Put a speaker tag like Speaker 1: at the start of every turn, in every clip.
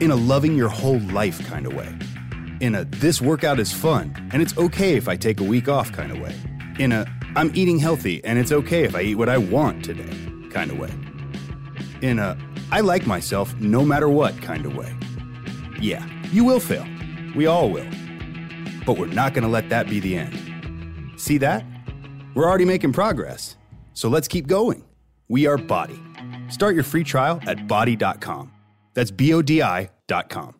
Speaker 1: in a loving your whole life kind of way, in a this workout is fun and it's okay if I take a week off kind of way, in a I'm eating healthy and it's okay if I eat what I want today kind of way, in a I like myself no matter what kind of way. Yeah, you will fail. We all will. But we're not going to let that be the end. See that? We're already making progress. So let's keep going. We are Body. Start your free trial at body.com. That's B O D I.com.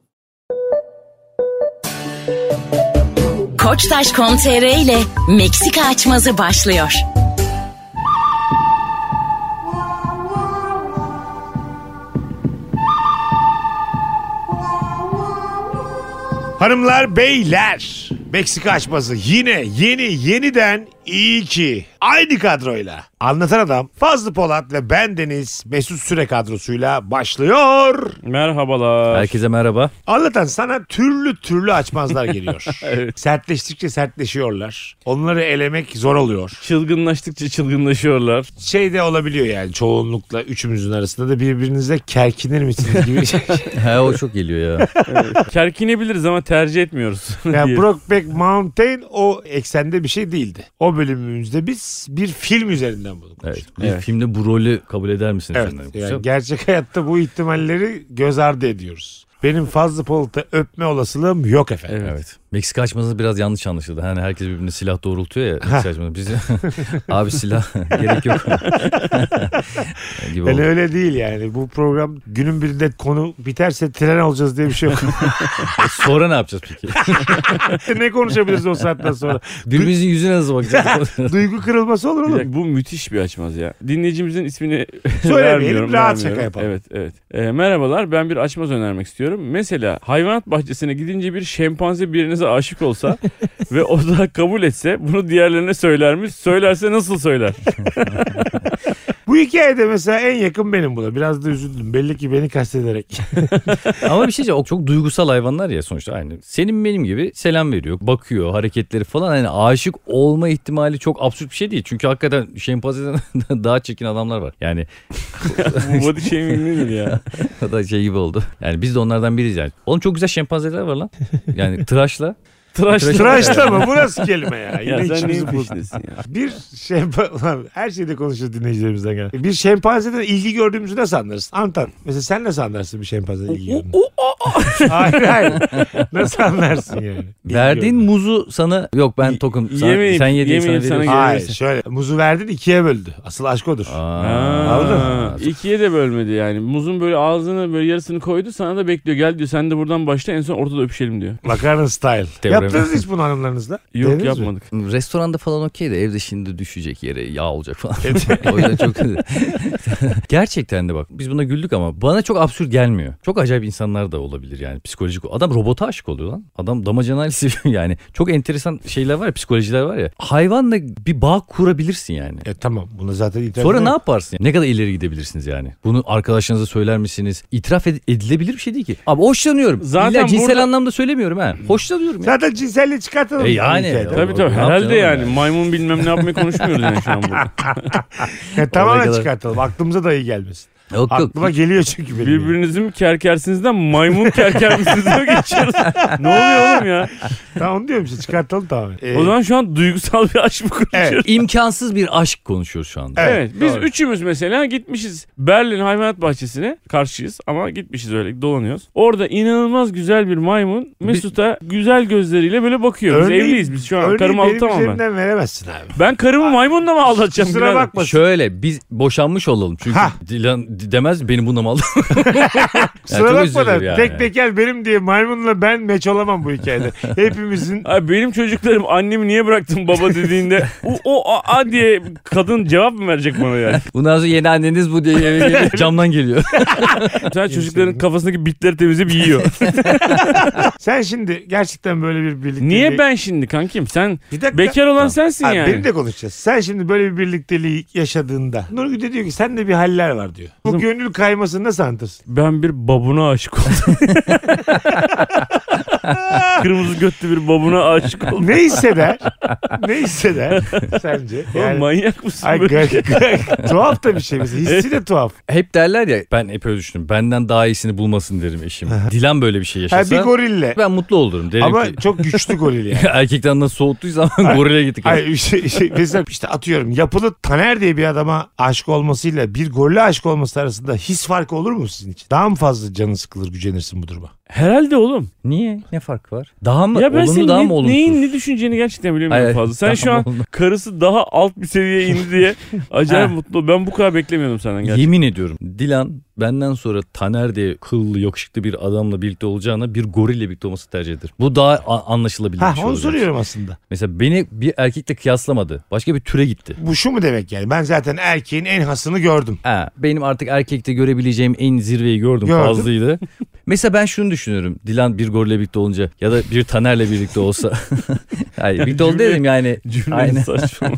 Speaker 2: Koçtaş.com.tr ile Meksika açmazı başlıyor.
Speaker 3: Hanımlar, beyler. Meksika açması yine yeni yeniden iyi ki. Aynı kadroyla. Anlatan adam Fazlı Polat ve ben Deniz Mesut Süre kadrosuyla başlıyor.
Speaker 4: Merhabalar.
Speaker 5: Herkese merhaba.
Speaker 3: Anlatan sana türlü türlü açmazlar geliyor.
Speaker 4: Evet.
Speaker 3: Sertleştikçe sertleşiyorlar. Onları elemek zor oluyor.
Speaker 4: Çılgınlaştıkça çılgınlaşıyorlar.
Speaker 3: Şey de olabiliyor yani çoğunlukla üçümüzün arasında da birbirinize kerkinir misiniz gibi.
Speaker 5: He o çok geliyor ya.
Speaker 4: Kerkinebiliriz ama tercih etmiyoruz.
Speaker 3: Yani
Speaker 4: diye.
Speaker 3: Brokeback Mountain o eksende bir şey değildi. O bölümümüzde biz bir film üzerinden bunu
Speaker 5: Evet.
Speaker 3: konuştuk.
Speaker 5: Bir filmde bu rolü kabul eder misin?
Speaker 3: Evet.
Speaker 5: efendim?
Speaker 3: Yani gerçek hayatta bu ihtimalleri göz ardı ediyoruz. Benim fazla Polat'ı öpme olasılığım yok efendim.
Speaker 4: Evet.
Speaker 5: Evet. Meksika açması biraz yanlış anlaşıldı. Hani herkes birbirine silah doğrultuyor ya. Meksika açması. Biz abi silah gerek yok. gibi
Speaker 3: Yani
Speaker 5: oldu.
Speaker 3: öyle değil yani. Bu program günün birinde konu biterse tren olacağız diye bir şey yok.
Speaker 5: Sonra ne yapacağız peki?
Speaker 3: ne konuşabiliriz o saatten sonra?
Speaker 5: Birbirimizin yüzüne nasıl bakacağız?
Speaker 3: Duygu kırılması olur
Speaker 4: Bir
Speaker 3: oğlum.
Speaker 4: dakika, bu müthiş bir açmaz ya. Dinleyicimizin ismini
Speaker 3: Söylemeyelim,
Speaker 4: vermiyorum.
Speaker 3: rahat
Speaker 4: vermiyorum.
Speaker 3: şaka yapalım.
Speaker 4: Evet, evet. Ee, merhabalar, ben bir açmaz önermek istiyorum. Mesela hayvanat bahçesine gidince bir şempanze birinize aşık olsa ve o da kabul etse bunu diğerlerine söyler mi? Söylerse nasıl söyler?
Speaker 3: Bu hikayede mesela en yakın benim buna. Biraz da üzüldüm. Belli ki beni kastederek.
Speaker 5: Ama bir şey diyeceğim. O çok duygusal hayvanlar ya sonuçta aynı. Senin benim gibi selam veriyor. Bakıyor hareketleri falan. Hani aşık olma ihtimali çok absürt bir şey değil. Çünkü hakikaten şempanzeden daha çirkin adamlar var. Yani
Speaker 4: bu body shaming nedir ya?
Speaker 5: o da şey gibi oldu. Yani biz de onlardan biriyiz yani. Oğlum çok güzel şempanzeler var lan. Yani tıraşla.
Speaker 4: Tıraşlı.
Speaker 3: Tıraşla mı? Bu nasıl kelime ya? Yine
Speaker 4: Ya sen
Speaker 3: içimizi
Speaker 4: neyin
Speaker 3: bozdun.
Speaker 4: peşindesin ya?
Speaker 3: Bir şempanze... Her şeyde konuşuyoruz dinleyicilerimizden gelen. Bir şempanzeden ilgi gördüğümüzü nasıl anlarız? Antan mesela sen nasıl anlarsın bir şempanzeden ilgi gördüğünü? hayır hayır. Nasıl anlarsın yani? İlgi
Speaker 5: Verdiğin
Speaker 3: gördüğünü.
Speaker 5: muzu sana yok ben
Speaker 4: Y-
Speaker 5: tokum. Sana,
Speaker 4: yemeyeyim,
Speaker 5: sen yediğin sana
Speaker 4: yemeyeyim sana
Speaker 5: veriyorum.
Speaker 3: Hayır şöyle. Muzu verdin ikiye böldü. Asıl aşk odur. Anladın
Speaker 4: Aa, ikiye de bölmedi yani. Muzun böyle ağzını böyle yarısını koydu sana da bekliyor. Gel diyor sen de buradan başla en son ortada öpüşelim diyor.
Speaker 3: Makarna style.
Speaker 5: Teoremi.
Speaker 3: Yaptınız hiç bunu hanımlarınızla?
Speaker 4: Yok
Speaker 3: Dediniz mi?
Speaker 4: yapmadık.
Speaker 5: Restoranda falan okey de evde şimdi düşecek yere yağ olacak falan. o yüzden çok... Gerçekten de bak biz buna güldük ama bana çok absürt gelmiyor. Çok acayip insanlar da olabilir yani psikolojik. Adam robota aşık oluyor lan. Adam damacanayla seviyor yani. Çok enteresan şeyler var ya psikolojiler var ya. Hayvanla bir bağ kurabilirsin yani.
Speaker 3: E tamam bunu zaten itiraf
Speaker 5: Sonra ne
Speaker 3: edemem.
Speaker 5: yaparsın? Ne kadar ileri gidebilirsiniz yani? Bunu arkadaşlarınıza söyler misiniz? İtiraf ed- edilebilir bir şey değil ki. Abi hoşlanıyorum.
Speaker 4: Zaten
Speaker 5: Zaten İlla cinsel
Speaker 4: burada-
Speaker 5: anlamda söylemiyorum ha. Hoşlanıyorum ya.
Speaker 3: Zaten cinselliği çıkartalım.
Speaker 5: E yani.
Speaker 3: Hikayeden.
Speaker 5: Tabii
Speaker 4: Tabii
Speaker 5: Oğlum,
Speaker 4: tabii
Speaker 5: ne
Speaker 4: herhalde
Speaker 5: yapacaksın
Speaker 4: yani
Speaker 5: oğlum ya?
Speaker 4: maymun bilmem ne yapmayı konuşmuyoruz yani şu an burada.
Speaker 3: Ya, E, tamamen
Speaker 5: Oraya kadar-
Speaker 3: çıkartalım. Aklımıza dahi gelmesin.
Speaker 5: Yok yok.
Speaker 3: Aklıma geliyor çünkü benim.
Speaker 4: Birbirinizi mi kerkersinizden maymun kerkermisinize mi geçiyoruz? ne oluyor oğlum ya?
Speaker 3: Tamam onu diyorum işte çıkartalım tamamen. Ee,
Speaker 4: O zaman şu an duygusal bir aşk mı konuşuyoruz?
Speaker 3: Evet.
Speaker 4: Evet.
Speaker 5: İmkansız bir aşk konuşuyoruz şu anda.
Speaker 4: biz
Speaker 3: doğru.
Speaker 4: üçümüz mesela gitmişiz Berlin Hayvanat Bahçesi'ne karşıyız ama gitmişiz öyle dolanıyoruz. Orada inanılmaz güzel bir maymun Mesut'a güzel gözleriyle böyle bakıyor. Biz
Speaker 3: Örneğin-
Speaker 4: evliyiz biz şu an
Speaker 3: Örneği
Speaker 4: karımı
Speaker 3: benim
Speaker 4: aldatamam ben.
Speaker 3: üzerimden veremezsin abi.
Speaker 4: Ben karımı maymunla mı aldatacağım?
Speaker 3: Kusura
Speaker 4: birader?
Speaker 3: bakma.
Speaker 5: Şöyle biz boşanmış olalım çünkü
Speaker 3: Ha.
Speaker 5: Dilan d- demez beni bununla mı aldın? Yani
Speaker 3: Sıra
Speaker 5: çok
Speaker 3: bakmadan
Speaker 5: üzülür yani.
Speaker 3: tek teker benim diye maymunla ben meç olamam bu hikayede. Hepimizin
Speaker 4: Abi benim çocuklarım annemi niye bıraktın baba dediğinde o, o a, a diye kadın cevap mı verecek bana yani?
Speaker 5: Bundan sonra yeni anneniz bu diye eve geliyor. camdan geliyor.
Speaker 4: Sen çocukların kafasındaki bitleri temizleyip yiyor.
Speaker 3: sen şimdi gerçekten böyle bir birlikteliği...
Speaker 4: niye ben şimdi kankim? Sen
Speaker 3: Bir dakika.
Speaker 4: bekar olan sensin
Speaker 3: Abi
Speaker 4: yani.
Speaker 3: Beni de konuşacağız. Sen şimdi böyle bir birlikteliği yaşadığında Nurgül de diyor ki sende bir haller var diyor. Bu gönül kaymasını nasıl anlatırsın?
Speaker 4: Ben bir babuna aşık oldum. Kırmızı götlü bir babuna aşık oldum.
Speaker 3: Ne hisseder? ne hisseder sence?
Speaker 4: Oğlum manyak mısın?
Speaker 3: Ay,
Speaker 4: böyle?
Speaker 3: gar- gar- tuhaf da bir şey mesela. Hissi de tuhaf.
Speaker 5: Hep derler ya ben hep öyle düşündüm. Benden daha iyisini bulmasın derim eşim. Dilan böyle bir şey
Speaker 3: Ha,
Speaker 5: yaşasa
Speaker 3: bir gorille.
Speaker 5: ben mutlu olurum. Derim
Speaker 3: Ama
Speaker 5: ki
Speaker 3: çok güçlü goril yani.
Speaker 5: erkekten nasıl soğuttuysam gorille gittik.
Speaker 3: Hayır bir şey, şey, mesela işte atıyorum yapılı Taner diye bir adama aşık olmasıyla bir golle aşık olması arasında his farkı olur mu sizin için? Daha mı fazla canın sıkılır gücenirsin bu duruma?
Speaker 4: Herhalde oğlum.
Speaker 5: Niye? Ne fark var? Daha mı
Speaker 4: Ya ben
Speaker 5: olumlu
Speaker 4: senin
Speaker 5: daha
Speaker 4: ne-
Speaker 5: mı olumsuz?
Speaker 4: neyin ne düşüneceğini gerçekten bilemiyorum
Speaker 5: Hayır,
Speaker 4: fazla. Sen şu
Speaker 5: daha
Speaker 4: an
Speaker 5: olumlu.
Speaker 4: karısı daha alt bir seviyeye indi diye acayip
Speaker 5: Ha.
Speaker 4: mutlu. Ben bu kadar beklemiyordum senden gerçekten.
Speaker 5: Yemin ediyorum Dilan benden sonra Taner diye kıllı yakışıklı bir adamla birlikte olacağına bir gorille birlikte olması tercih eder. Bu daha a- anlaşılabilir
Speaker 3: Ha
Speaker 5: bir şey
Speaker 3: onu
Speaker 5: olacak.
Speaker 3: soruyorum aslında.
Speaker 5: Mesela beni bir erkekle kıyaslamadı. Başka bir türe gitti.
Speaker 3: Bu şu mu demek yani? Ben zaten erkeğin en hasını gördüm.
Speaker 5: Ha, benim artık erkekte görebileceğim en zirveyi gördüm,
Speaker 3: Gördüm.
Speaker 5: fazlıydı. Mesela ben şunu düşünüyorum. Dilan bir gorille birlikte olunca ya da bir Taner'le birlikte olsa. Hayır birlikte ol
Speaker 4: Cümle-
Speaker 5: dedim yani.
Speaker 4: Cümlenin
Speaker 5: Aynen.
Speaker 4: saçma.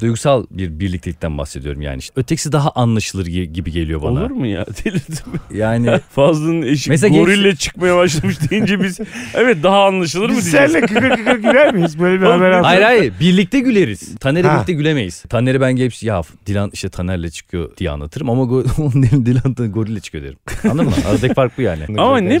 Speaker 5: Duygusal bir birliktelikten bahsediyorum yani. İşte ötekisi daha anlaşılır gi- gibi geliyor bana.
Speaker 4: Olur mu ya? Delirdim.
Speaker 5: Yani
Speaker 4: Fazlı'nın eşi
Speaker 5: Mesela genç-
Speaker 4: gorille çıkmaya başlamış deyince biz evet daha anlaşılır mı
Speaker 3: Biz
Speaker 4: diyeceğiz.
Speaker 3: seninle kıkır kıkır güler miyiz? Böyle bir haber
Speaker 5: Hayır
Speaker 3: alsak.
Speaker 5: hayır birlikte güleriz. Taner'e
Speaker 3: Ha.
Speaker 5: birlikte gülemeyiz. Taner'e ben gelip ya Dilan işte Taner'le çıkıyor diye anlatırım ama go- onun elinde Dilan da gorille çıkıyor derim. Anladın mı? Aradaki fark bu yani.
Speaker 4: Ama ne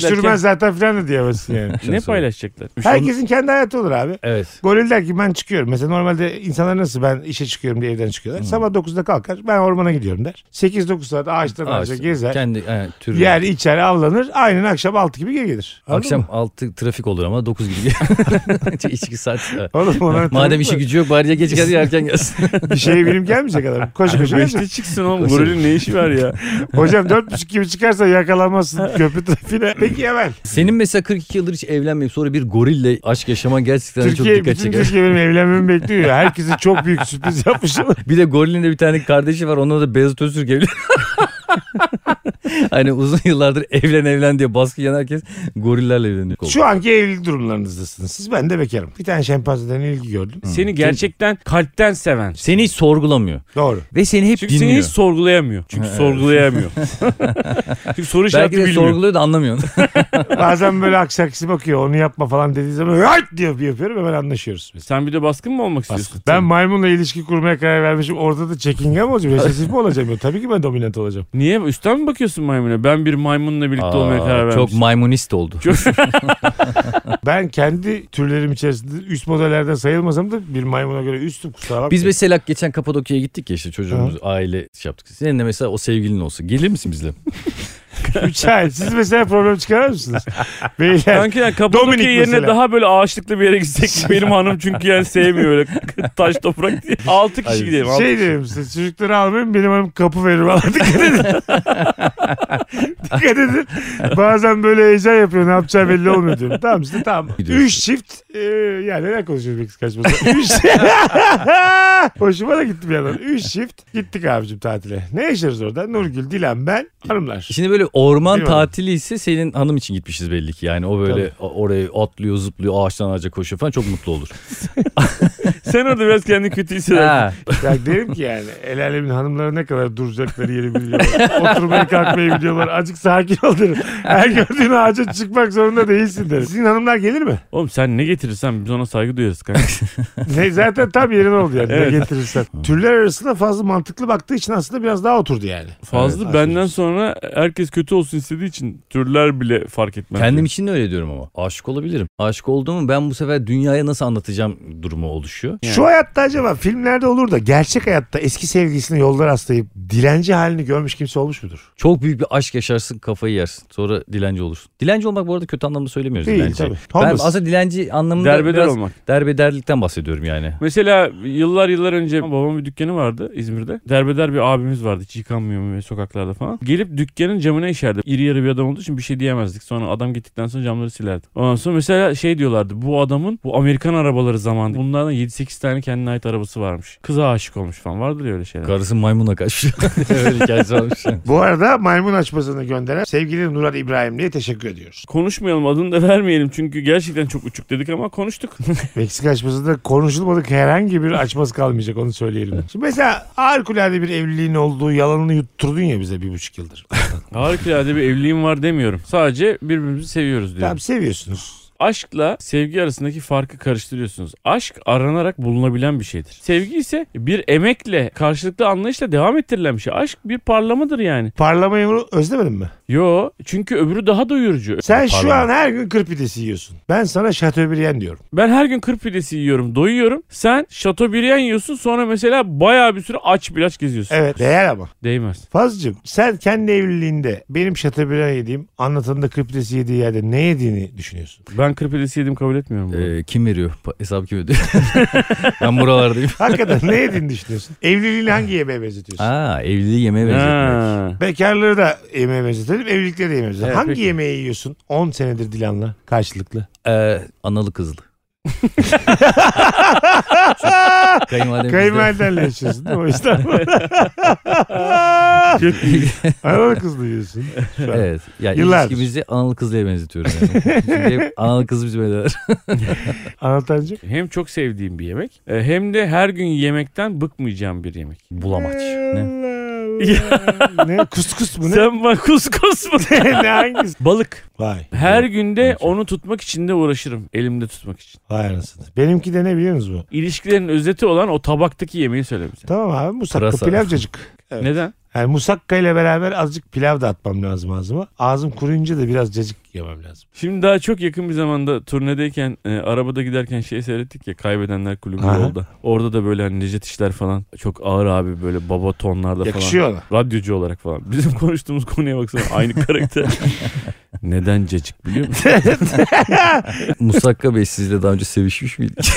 Speaker 3: Çok
Speaker 4: ki?
Speaker 3: sürmez zaten filan da diyemezsin yani.
Speaker 4: Ne paylaşacaklar?
Speaker 3: Herkesin kendi hayatı olur abi.
Speaker 5: Evet.
Speaker 3: Goril der ki ben çıkıyorum. Mesela normalde insanlar nasıl ben işe çıkıyorum diye evden çıkıyorlar. Sabah 9'da kalkar ben ormana gidiyorum der. 8-9 saat ağaçtan ağaca
Speaker 5: Ağaç,
Speaker 3: gezer.
Speaker 5: Kendi yani, türü.
Speaker 3: Yer içer avlanır. Aynen akşam 6 gibi geri gelir. Anladın
Speaker 5: Akşam
Speaker 3: mı?
Speaker 5: altı trafik olur ama 9 gibi. Çok İçki saat.
Speaker 3: Oğlum ona
Speaker 5: Madem işi gücü yok bari ya geç geldi ya erken gelsin.
Speaker 3: bir şeye bilim gelmeyecek adam. Koşu koşu
Speaker 4: Beşte
Speaker 3: gelsin.
Speaker 4: çıksın oğlum. Gorilin ne işi var ya?
Speaker 3: Hocam 4.30 gibi çıkarsa yakalanmazsın köprü trafiğine. Peki hemen.
Speaker 5: Senin mesela 42 yıldır hiç evlenmeyip sonra bir gorille aşk yaşaman gerçekten
Speaker 3: Türkiye,
Speaker 5: çok dikkat
Speaker 3: bütün
Speaker 5: çeker.
Speaker 3: Türkiye benim evlenmemi bekliyor. ya. Herkese çok büyük sürpriz yapmışım.
Speaker 5: Bir de Goril'in de bir tane kardeşi var. Onunla da Beyazıt Öztürk evli. hani uzun yıllardır evlen evlen diye baskı yiyen herkes gorillerle evleniyor.
Speaker 3: Şu anki evlilik durumlarınızdasınız. Siz ben de bekarım. Bir tane şempanzeden ilgi gördüm.
Speaker 4: Seni gerçekten kalpten seven.
Speaker 5: Seni hiç sorgulamıyor.
Speaker 3: Doğru.
Speaker 5: Ve seni hep
Speaker 4: Çünkü
Speaker 5: dinliyor.
Speaker 4: seni hiç sorgulayamıyor. Çünkü sorgulayamıyor. Çünkü soru işareti
Speaker 5: Belki de
Speaker 4: bilmiyor.
Speaker 5: sorguluyor da anlamıyorsun.
Speaker 3: Bazen böyle aksaksi bakıyor onu yapma falan dediği zaman right diyor yapıyorum hemen anlaşıyoruz biz.
Speaker 4: Sen bir de baskın mı olmak istiyorsun?
Speaker 3: Ben maymunla ilişki kurmaya karar vermişim. Orada da çekingen mi olacağım? Resesif mi olacağım? Yok, Tabii ki ben dominant olacağım.
Speaker 4: Niye? Üstten mi bakıyorsun maymuna? Ben bir maymunla birlikte olmaya karar
Speaker 5: Aa,
Speaker 4: vermişim.
Speaker 5: çok maymunist oldu.
Speaker 3: Ben kendi türlerim içerisinde üst modellerden sayılmasam da bir maymuna göre üstüm kusura bakmayın.
Speaker 5: Biz mesela geçen Kapadokya'ya gittik ya işte çocuğumuz aile şey yaptık. Senin de mesela o sevgilin olsa gelir misin bizle?
Speaker 3: Üç ay. Siz mesela problem çıkarır mısınız? Beyler.
Speaker 4: Kanka yani Kapadokya
Speaker 3: Dominik
Speaker 4: yerine
Speaker 3: mesela.
Speaker 4: daha böyle ağaçlıklı bir yere gitsek benim hanım çünkü yani sevmiyor öyle taş toprak diye. 6 kişi
Speaker 5: Hayır.
Speaker 4: gidelim. altı
Speaker 3: Şey
Speaker 4: kişi.
Speaker 3: derim size çocukları almayın benim hanım kapı verir bana dikkat edin. dikkat edin. Bazen böyle heyecan yapıyor ne yapacağı belli olmuyor diyorum. Tamam işte tamam.
Speaker 5: Gidiyorsun.
Speaker 3: Üç çift e, yani neler konuşuyoruz Meksika açmasında. Üç Hoşuma da gitti bir yandan. Üç çift gittik abicim tatile. Ne yaşarız orada? Nurgül, Dilan, ben, hanımlar.
Speaker 5: Şimdi böyle orman
Speaker 3: Değil mi?
Speaker 5: tatili ise senin hanım için gitmişiz belli ki. Yani o böyle o- oraya atlıyor zıplıyor ağaçtan ağaca koşuyor falan çok mutlu olur.
Speaker 4: Sen orada biraz kendini kötü hissedersin.
Speaker 5: Ha.
Speaker 3: Ya derim ki yani el alemin hanımları ne kadar duracakları yeri biliyorlar. Oturmayı kalkmayı biliyorlar. Azıcık sakin ol derim. Her gördüğün ağaca çıkmak zorunda değilsin derim. Sizin hanımlar gelir mi?
Speaker 4: Oğlum sen ne getirirsen biz ona saygı duyarız kanka.
Speaker 3: Ne, zaten tam yerin oldu yani
Speaker 4: Evet.
Speaker 3: ne getirirsen. Türler arasında fazla mantıklı baktığı için aslında biraz daha oturdu yani.
Speaker 4: Fazlı
Speaker 3: Evet,
Speaker 4: benden sonra herkes kötü olsun istediği için türler bile fark etmez.
Speaker 5: Kendim için de öyle diyorum ama. Aşık olabilirim. Aşık olduğumu ben bu sefer dünyaya nasıl anlatacağım durumu oluşuyor.
Speaker 3: Şu hayatta acaba filmlerde olur da gerçek hayatta eski sevgilisini yolda rastlayıp dilenci halini görmüş kimse olmuş mudur?
Speaker 5: Çok büyük bir aşk yaşarsın kafayı yersin. Sonra dilenci olursun. Dilenci olmak bu arada kötü anlamda söylemiyoruz
Speaker 3: Değil
Speaker 5: dilenci.
Speaker 3: tabii.
Speaker 5: Ben
Speaker 3: Homeless.
Speaker 5: aslında dilenci anlamında
Speaker 4: Derbeder
Speaker 5: biraz
Speaker 4: olmak.
Speaker 5: derbederlikten bahsediyorum yani.
Speaker 4: Mesela yıllar yıllar önce babamın bir dükkanı vardı İzmir'de. Derbeder bir abimiz vardı hiç yıkanmıyor mu sokaklarda falan. Gelip dükkanın camına işerdi. İri yarı bir adam olduğu için bir şey diyemezdik. Sonra adam gittikten sonra camları silerdi. Ondan sonra mesela şey diyorlardı bu adamın bu Amerikan arabaları zamanı. Bunlardan 7-8 tane kendine ait arabası varmış. Kıza aşık olmuş falan vardır ya öyle şeyler.
Speaker 5: Karısı maymuna kaçmış. Öyle hikayesi varmış.
Speaker 3: Bu arada maymun açmasını gönderen sevgili Nural İbrahimli'ye teşekkür ediyoruz.
Speaker 4: Konuşmayalım adını da vermeyelim çünkü gerçekten çok uçuk dedik ama konuştuk.
Speaker 3: Meksika açmasında konuşulmadık herhangi bir açması kalmayacak onu söyleyelim. Şimdi mesela harikulade bir evliliğin olduğu yalanını yutturdun ya bize bir buçuk yıldır.
Speaker 4: Harikulade bir evliliğim var demiyorum. Sadece birbirimizi seviyoruz diyorum.
Speaker 3: Tamam seviyorsunuz.
Speaker 4: Aşkla sevgi arasındaki farkı karıştırıyorsunuz. Aşk aranarak bulunabilen bir şeydir. Sevgi ise bir emekle, karşılıklı anlayışla devam ettirilen bir şey. Aşk bir parlamadır yani.
Speaker 3: Parlamayı bunu özlemedin mi?
Speaker 4: Yo, çünkü öbürü daha doyurucu.
Speaker 3: Sen şu
Speaker 5: parlama.
Speaker 3: an her gün kır pidesi yiyorsun. Ben sana şatöbriyen diyorum.
Speaker 4: Ben her gün kır pidesi yiyorum, doyuyorum. Sen şatobriyen yiyorsun sonra mesela bayağı bir süre aç bir aç geziyorsun.
Speaker 3: Evet değer ama.
Speaker 4: Değmez.
Speaker 3: Fazlıcığım sen kendi evliliğinde benim şatöbriyen yediğim anlatanın da kır pidesi yediği yerde ne yediğini düşünüyorsun.
Speaker 4: Ben kır pidesi yedim kabul etmiyorum bunu.
Speaker 5: Ee, kim veriyor? Pa- Hesabı kim ödüyor? ben buralardayım.
Speaker 3: Hakikaten ne yediğini düşünüyorsun. Evliliğini hangi yemeğe benzetiyorsun?
Speaker 5: Aa evliliği yemeğe benzetmek.
Speaker 4: Ha.
Speaker 3: Bekarları da yemeğe benzetelim, evlilikleri de yemeğe benzetelim.
Speaker 4: Evet,
Speaker 3: Hangi
Speaker 4: peki.
Speaker 3: yemeği yiyorsun 10 senedir Dilan'la karşılıklı?
Speaker 5: Ee, analı kızlı. Kayınvalidem
Speaker 3: Kayınvalidenle yaşıyorsun değil mi? O yüzden. Analı kızla yiyorsun.
Speaker 5: bizde- Evet. Yani
Speaker 3: Yıllardır.
Speaker 5: ilişkimizi analı kızlıya benzetiyorum yani. Çünkü hep analı kız bizim eder.
Speaker 3: Anlatancım.
Speaker 4: Hem çok sevdiğim bir yemek e, hem de her gün yemekten bıkmayacağım bir yemek.
Speaker 5: Bulamaç. Ne?
Speaker 3: ne? Kuskus mu ne?
Speaker 4: Sen bak kuskus mu?
Speaker 3: ne hangisi?
Speaker 4: Balık.
Speaker 3: Vay.
Speaker 4: Her günde onu tutmak için de uğraşırım. Elimde tutmak için.
Speaker 3: Vay anasını. Benimki de ne biliyor musunuz bu?
Speaker 4: İlişkilerin özeti olan o tabaktaki yemeği söyle bize.
Speaker 3: Tamam abi musakka
Speaker 5: Pırasa.
Speaker 3: pilavcacık. Evet.
Speaker 4: Neden?
Speaker 3: Yani musakka ile beraber azıcık pilav da atmam lazım ağzıma. Ağzım kuruyunca da biraz cacık yemem lazım.
Speaker 4: Şimdi daha çok yakın bir zamanda turnedeyken e, arabada giderken şey seyrettik ya Kaybedenler Kulübü
Speaker 3: Aha.
Speaker 4: yolda. Orada da böyle hani Necdet İşler falan çok ağır abi böyle baba tonlarda falan.
Speaker 3: Yakışıyor ona.
Speaker 4: Radyocu olarak falan. Bizim konuştuğumuz konuya baksana aynı karakter. Neden cacık biliyor musun?
Speaker 5: Musakka Bey sizle daha önce sevişmiş miydik?